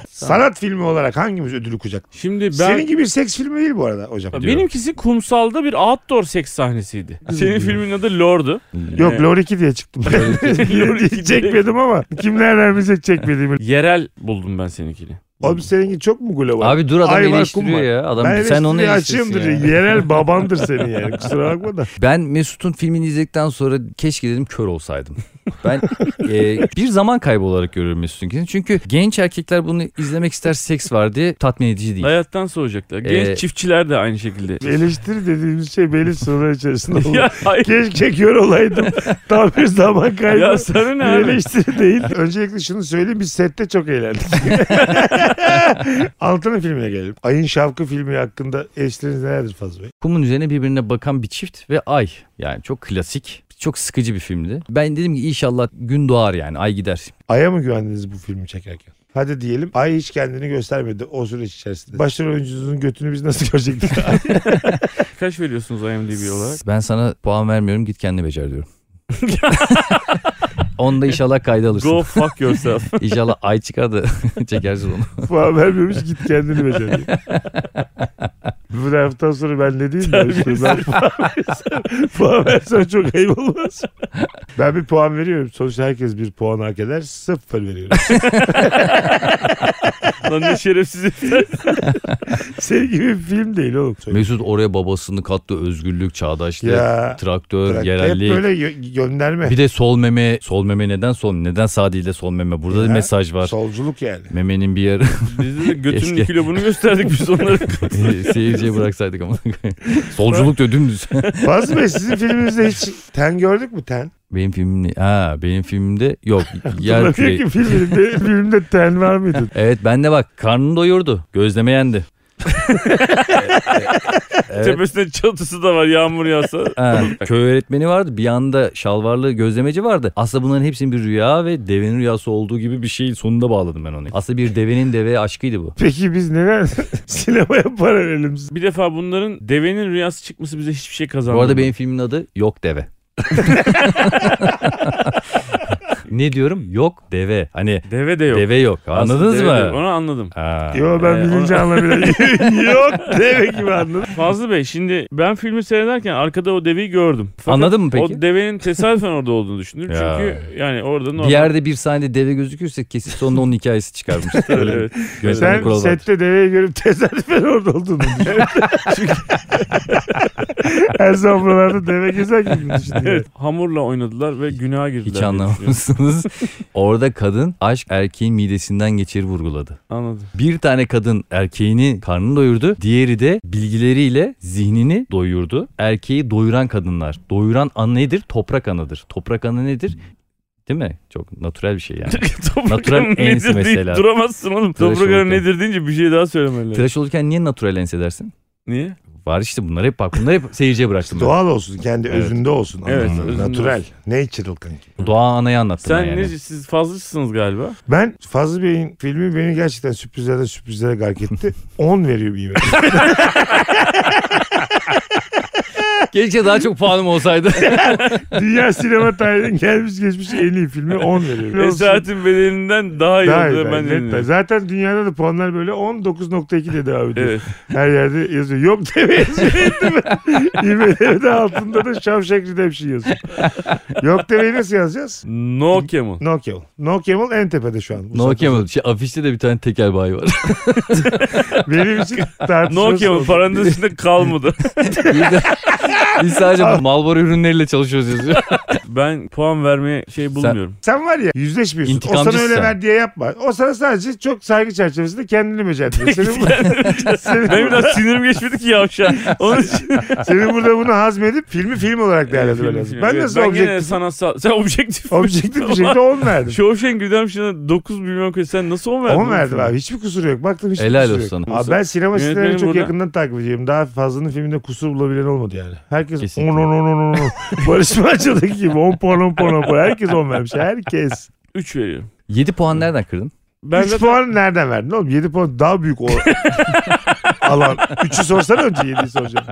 Speaker 3: Sanat filmi olarak hangimiz ödülü kucak?
Speaker 4: Şimdi ben...
Speaker 3: Senin gibi bir seks filmi değil bu arada hocam.
Speaker 4: Ya Benimkisi kumsalda bir outdoor seks sahnesiydi. Senin filmin adı Lord'u.
Speaker 3: Yok Lor 2 diye çıktım.
Speaker 4: Lor iki diye-
Speaker 3: çekmedim ama kimler vermişse çekmediğimi.
Speaker 4: Yerel buldum ben seninkini.
Speaker 3: Abi seninki çok mu global?
Speaker 5: Abi dur adam
Speaker 3: Ay var, kum
Speaker 5: eleştiriyor
Speaker 3: var.
Speaker 5: ya. Adam
Speaker 3: ben
Speaker 5: sen onu eleştirsin
Speaker 3: açığımdır.
Speaker 5: ya.
Speaker 3: Yerel babandır senin yani. Kusura bakma da.
Speaker 5: Ben Mesut'un filmini izledikten sonra keşke dedim kör olsaydım. Ben e, bir zaman kaybı olarak görüyorum Mesut'unkini. Çünkü genç erkekler bunu izlemek ister seks var diye tatmin edici değil.
Speaker 4: Hayattan soğuyacaklar. Genç
Speaker 5: Ee,
Speaker 4: çiftçiler de aynı şekilde.
Speaker 3: Eleştiri dediğimiz şey belli sınırlar içerisinde olur.
Speaker 4: ya hayır.
Speaker 3: Keşke kör olaydım. Tam bir zaman kaybı.
Speaker 4: ya sana ne
Speaker 3: Bir
Speaker 4: abi?
Speaker 3: eleştiri değil. Öncelikle şunu söyleyeyim biz sette çok eğlendik. Altının filmine gelelim. Ayın Şavkı filmi hakkında eleştiriniz nelerdir Fazıl Bey?
Speaker 5: Kumun üzerine birbirine bakan bir çift ve ay. Yani çok klasik, çok sıkıcı bir filmdi. Ben dedim ki inşallah gün doğar yani ay gider.
Speaker 3: Ay'a mı güvendiniz bu filmi çekerken? Hadi diyelim Ay hiç kendini göstermedi o süreç içerisinde. Başrol oyuncunun götünü biz nasıl görecektik?
Speaker 4: Kaç veriyorsunuz IMDb olarak?
Speaker 5: Ben sana puan vermiyorum git kendi becer diyorum. Onu da inşallah kayda alırsın.
Speaker 4: Go fuck yourself.
Speaker 5: İnşallah ay çıkar da çekersin onu.
Speaker 3: Puan vermiyormuş git kendini becer. diye. Bu hafta sonra ben ne diyeyim ben, işte, ben puan, versem, puan versem çok ayıp olmaz. Ben bir puan veriyorum. Sonuçta herkes bir puan hak eder. Sıfır veriyorum.
Speaker 4: Lan ne şerefsiz.
Speaker 3: Senin gibi bir film değil oğlum.
Speaker 5: Mesut oraya babasını kattı özgürlük, çağdaşlık,
Speaker 3: Ya,
Speaker 5: traktör,
Speaker 3: Bırak.
Speaker 5: yerellik.
Speaker 3: Hep böyle gö- gönderme.
Speaker 5: Bir de sol meme, sol meme neden sol neden sağ değil de sol meme? Burada da
Speaker 3: Ya,
Speaker 5: mesaj var.
Speaker 3: Solculuk yani.
Speaker 5: Memenin bir yeri
Speaker 4: Biz de götünün
Speaker 5: Keşke.
Speaker 4: kilo bunu gösterdik biz onlara.
Speaker 5: seyirciye bıraksaydık ama. Solculuk diyor dümdüz.
Speaker 3: Fazıl Bey sizin filminizde hiç ten gördük mü ten?
Speaker 5: benim filmim ha benim filmimde yok. Yer
Speaker 3: Bakıyor
Speaker 5: küreği.
Speaker 3: ki filminde, filmde ten var mıydı?
Speaker 5: Evet ben de bak karnını doyurdu. Gözleme yendi. evet.
Speaker 4: Tepesinde çatısı da var yağmur yağsa.
Speaker 5: Ha, köy öğretmeni vardı. Bir yanda şalvarlı gözlemeci vardı. Aslında bunların hepsinin bir rüya ve devenin rüyası olduğu gibi bir şey sonunda bağladım ben onu. Aslında bir devenin deveye aşkıydı bu.
Speaker 3: Peki biz neden sinemaya para verelim?
Speaker 4: Bir defa bunların devenin rüyası çıkması bize hiçbir şey kazandırmadı.
Speaker 5: Bu arada benim filmin adı Yok Deve. ne diyorum? Yok deve. Hani
Speaker 4: Deve de yok.
Speaker 5: deve yok.
Speaker 4: Aslında
Speaker 5: Anladınız
Speaker 4: deve de yok.
Speaker 5: mı?
Speaker 4: Onu anladım.
Speaker 5: Ha.
Speaker 3: Yo ben
Speaker 4: Ee,
Speaker 3: bilinci
Speaker 4: onu-
Speaker 3: anlamıyorum. Yok demek gibi anladım.
Speaker 4: Fazlı Bey şimdi ben filmi seyrederken arkada o deveyi gördüm. Fakat
Speaker 5: Anladın mı peki?
Speaker 4: O devenin tesadüfen orada olduğunu düşündüm.
Speaker 5: Ya.
Speaker 4: Çünkü yani orada normal.
Speaker 5: Bir yerde bir sahnede deve gözükürse kesin sonunda onun hikayesi çıkarmış.
Speaker 4: Evet, evet.
Speaker 5: Gözleme
Speaker 3: Sen
Speaker 5: kuralı var.
Speaker 3: sette deveyi görüp tesadüfen orada olduğunu düşündün. Her zaman buralarda deve gezer gibi mi düşündün? yani?
Speaker 4: Evet, hamurla oynadılar ve günaha girdiler.
Speaker 5: Hiç
Speaker 4: diye düşünüyorum.
Speaker 5: anlamamışsınız. Orada kadın aşk erkeğin midesinden geçir vurguladı.
Speaker 4: Anladım.
Speaker 5: Bir tane kadın erkeğini karnını doyurdu. Diğeri de bilgileriyle zihnini doyurdu. Erkeği doyuran kadınlar. Doyuran ana nedir? Toprak anadır. Toprak ana nedir? Değil mi? Çok natürel bir şey yani. Natural
Speaker 4: Toprak
Speaker 5: ens
Speaker 4: nedir
Speaker 5: mesela.
Speaker 4: deyip duramazsın oğlum.
Speaker 5: Tıraş
Speaker 4: Toprak
Speaker 5: olurken.
Speaker 4: nedir deyince bir şey daha söylemeliler.
Speaker 5: Tıraş olurken niye natürel ens edersin?
Speaker 4: Niye?
Speaker 5: Var işte bunlar hep bak bunlar hep seyirciye bıraktım. Doğa,
Speaker 3: Doğal olsun kendi
Speaker 5: Evet.
Speaker 3: özünde olsun.
Speaker 4: Evet,
Speaker 3: Anladın mı?
Speaker 4: özünde
Speaker 3: Natural.
Speaker 4: olsun.
Speaker 3: Natural kanki.
Speaker 5: Doğa anayı anlattım
Speaker 4: Sen
Speaker 5: ben yani.
Speaker 4: ne, siz fazlasısınız galiba.
Speaker 3: Ben Fazıl Bey'in filmi beni gerçekten sürprizlerden sürprizlere gark etti. 10 veriyor bir yemek.
Speaker 5: Keşke daha çok puanım olsaydı.
Speaker 3: Dünya sinema tarihinin gelmiş geçmiş en iyi filmi 10 veriyor.
Speaker 4: Esaatin bedelinden daha iyi
Speaker 3: Daha iyi,
Speaker 4: oldu.
Speaker 3: daha
Speaker 4: E,
Speaker 3: iyi,
Speaker 4: Ben
Speaker 3: net daha iyi.
Speaker 4: dinliyorum.
Speaker 3: Zaten dünyada da puanlar böyle 19.2 de devam ediyor.
Speaker 4: Evet.
Speaker 3: Her yerde yazıyor. Yok deme yazıyor. değil mi? IMDb'de altında da Şavşak Redemption şey yazıyor. Yok demeyi nasıl yazacağız?
Speaker 4: No Camel.
Speaker 3: No Camel. No Camel en tepede şu an. Bu
Speaker 5: no
Speaker 3: saatte-
Speaker 5: Kemal. Şey, afişte de bir tane tekel bayi var.
Speaker 3: Benim için
Speaker 4: No
Speaker 3: tartışması
Speaker 4: Camel
Speaker 3: oldu.
Speaker 4: paranın üstünde kalmadı.
Speaker 5: Biz sadece Malboro ürünleriyle çalışıyoruz yazıyor.
Speaker 4: ben puan vermeye şey bulmuyorum.
Speaker 3: Sen var ya yüzleşmiyorsun. O sana
Speaker 5: İntikamcısın
Speaker 3: öyle
Speaker 5: sen.
Speaker 3: ver diye yapma. O sana sadece çok saygı çerçevesinde kendini becertiyor. Senin, senin,
Speaker 4: Benim biraz sinirim geçmedi ki yavşan. Onun için
Speaker 3: senin burada bunu hazmedip filmi film olarak değerlendirmen
Speaker 4: Film,
Speaker 3: lazım.
Speaker 4: film.
Speaker 3: Ben
Speaker 4: Evet,
Speaker 3: nasıl
Speaker 4: ben gene
Speaker 3: objektif,
Speaker 4: sanatsal. Sen objektif.
Speaker 3: objektif bir şekilde 10 verdim.
Speaker 4: Shawshank Redemption'a 9 milyon koy. Sen nasıl 10 verdin?
Speaker 3: 10 verdim abi. Hiçbir kusuru yok. Baktım hiçbir
Speaker 5: Helal
Speaker 3: kusuru
Speaker 5: olsun
Speaker 3: yok.
Speaker 4: sana.
Speaker 3: Abi ben sinema
Speaker 4: Yönetmenim
Speaker 3: sitelerini çok
Speaker 4: burada.
Speaker 3: yakından takip ediyorum. Daha fazlanın filminde kusur bulabilen olmadı yani. Herkes 10
Speaker 5: Kesinlikle.
Speaker 3: 10 10 10 10. Barış Manço'daki gibi 10 puan 10 puan 10 puan. Herkes 10 vermiş. Herkes.
Speaker 4: 3 veriyorum.
Speaker 5: 7 puan nereden kırdın?
Speaker 4: Ben
Speaker 3: 3
Speaker 4: zaten-
Speaker 3: puan nereden verdin oğlum? 7 puan daha büyük o alan. 3'ü sorsana önce 7'yi soracağım.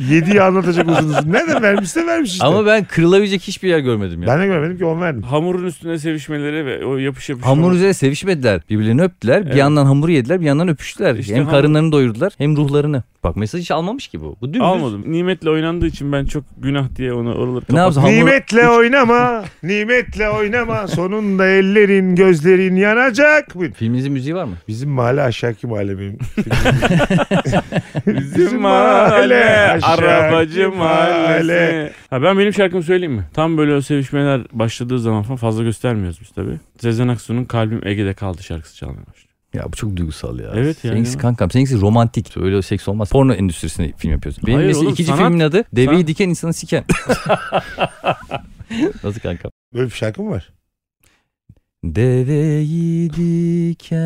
Speaker 3: 7'yi anlatacak uzun uzun. Nereden vermişse vermiş işte.
Speaker 5: Ama ben kırılabilecek hiçbir yer görmedim ya.
Speaker 3: ben de görmedim ki 10 verdim.
Speaker 4: hamurun üstüne sevişmeleri ve o yapış yapış.
Speaker 5: Hamur üzerine sevişmediler. Birbirlerini öptüler. Bir
Speaker 4: Evet.
Speaker 5: yandan hamuru yediler, bir yandan öpüştüler.
Speaker 4: İşte
Speaker 5: hem
Speaker 4: hamur-
Speaker 5: karınlarını doyurdular hem ruhlarını. Bak mesaj hiç almamış ki bu. Bu dümdüz.
Speaker 4: Almadım. Nimetle oynandığı için ben çok günah diye onu oraları
Speaker 5: Ne yapsın?
Speaker 4: kapattım.
Speaker 5: Hamur-
Speaker 3: Nimetle oynama, nimetle oynama. Sonunda ellerin, gözlerin yanacak. Buyurun.
Speaker 5: Filminizin müziği var mı?
Speaker 3: Bizim mahalle aşağıki mahalle benim.
Speaker 4: Bizim mahalle, arabacı mahalle. Ha ben benim şarkımı söyleyeyim mi? Tam böyle o sevişmeler başladığı zaman falan fazla göstermiyoruz biz tabii. Sezen Aksu'nun Kalbim Ege'de Kaldı şarkısı çalmaya başladı.
Speaker 5: Ya bu çok duygusal ya.
Speaker 4: Evet yani.
Speaker 5: Seninkisi kankam. Seninkisi romantik. Öyle seks olmaz. Porno endüstrisinde film yapıyorsun. Benim
Speaker 4: Hayır
Speaker 5: mesela
Speaker 4: oğlum,
Speaker 5: ikinci
Speaker 4: sanat-
Speaker 5: filmin adı Deveyi
Speaker 4: sanat-
Speaker 5: Diken insanı Siken. Nasıl kankam?
Speaker 3: Böyle bir şarkı mı var?
Speaker 5: Deveyi diken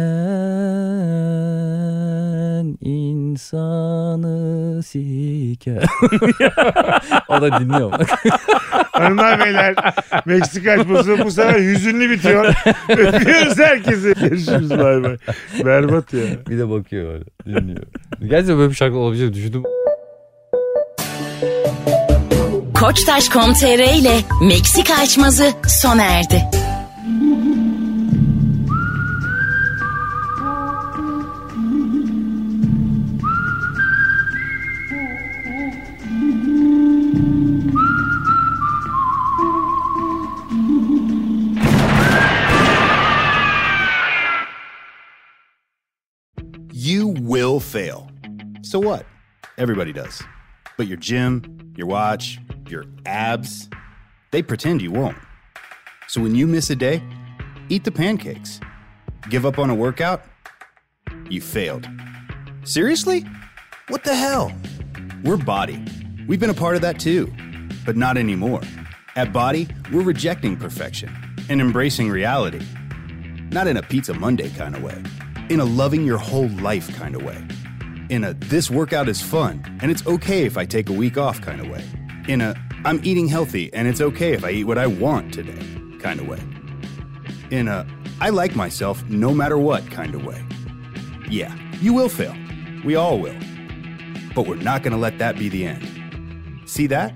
Speaker 5: insanı siken. o da dinliyor bak.
Speaker 3: Hanımlar beyler Meksika açması bu sefer hüzünlü bitiyor. Öpüyoruz herkesi. Görüşürüz bay bay. Berbat ya.
Speaker 5: Bir de bakıyor öyle dinliyor. Gerçekten böyle bir şarkı olabileceğini düşündüm.
Speaker 2: Koçtaş.com.tr ile Meksika açmazı sona erdi.
Speaker 1: You will fail. So what? Everybody does. But your gym, your watch, your abs, they pretend you won't. So when you miss a day, eat the pancakes. Give up on a workout? You failed. Seriously? What the hell? We're Body. We've been a part of that too, but not anymore. At Body, we're rejecting perfection and embracing reality not in a Pizza Monday kind of way, in a loving your whole life kind of way, in a this workout is fun and it's okay if I take a week off kind of way, in a I'm eating healthy and it's okay if I eat what I want today kind of way, in a I like myself no matter what kind of way. Yeah, you will fail. We all will. But we're not going to let that be the end. See that?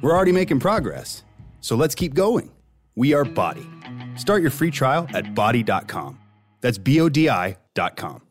Speaker 1: We're already making progress. So let's keep going. We are Body. Start your free trial at body.com. That's B O D I.com.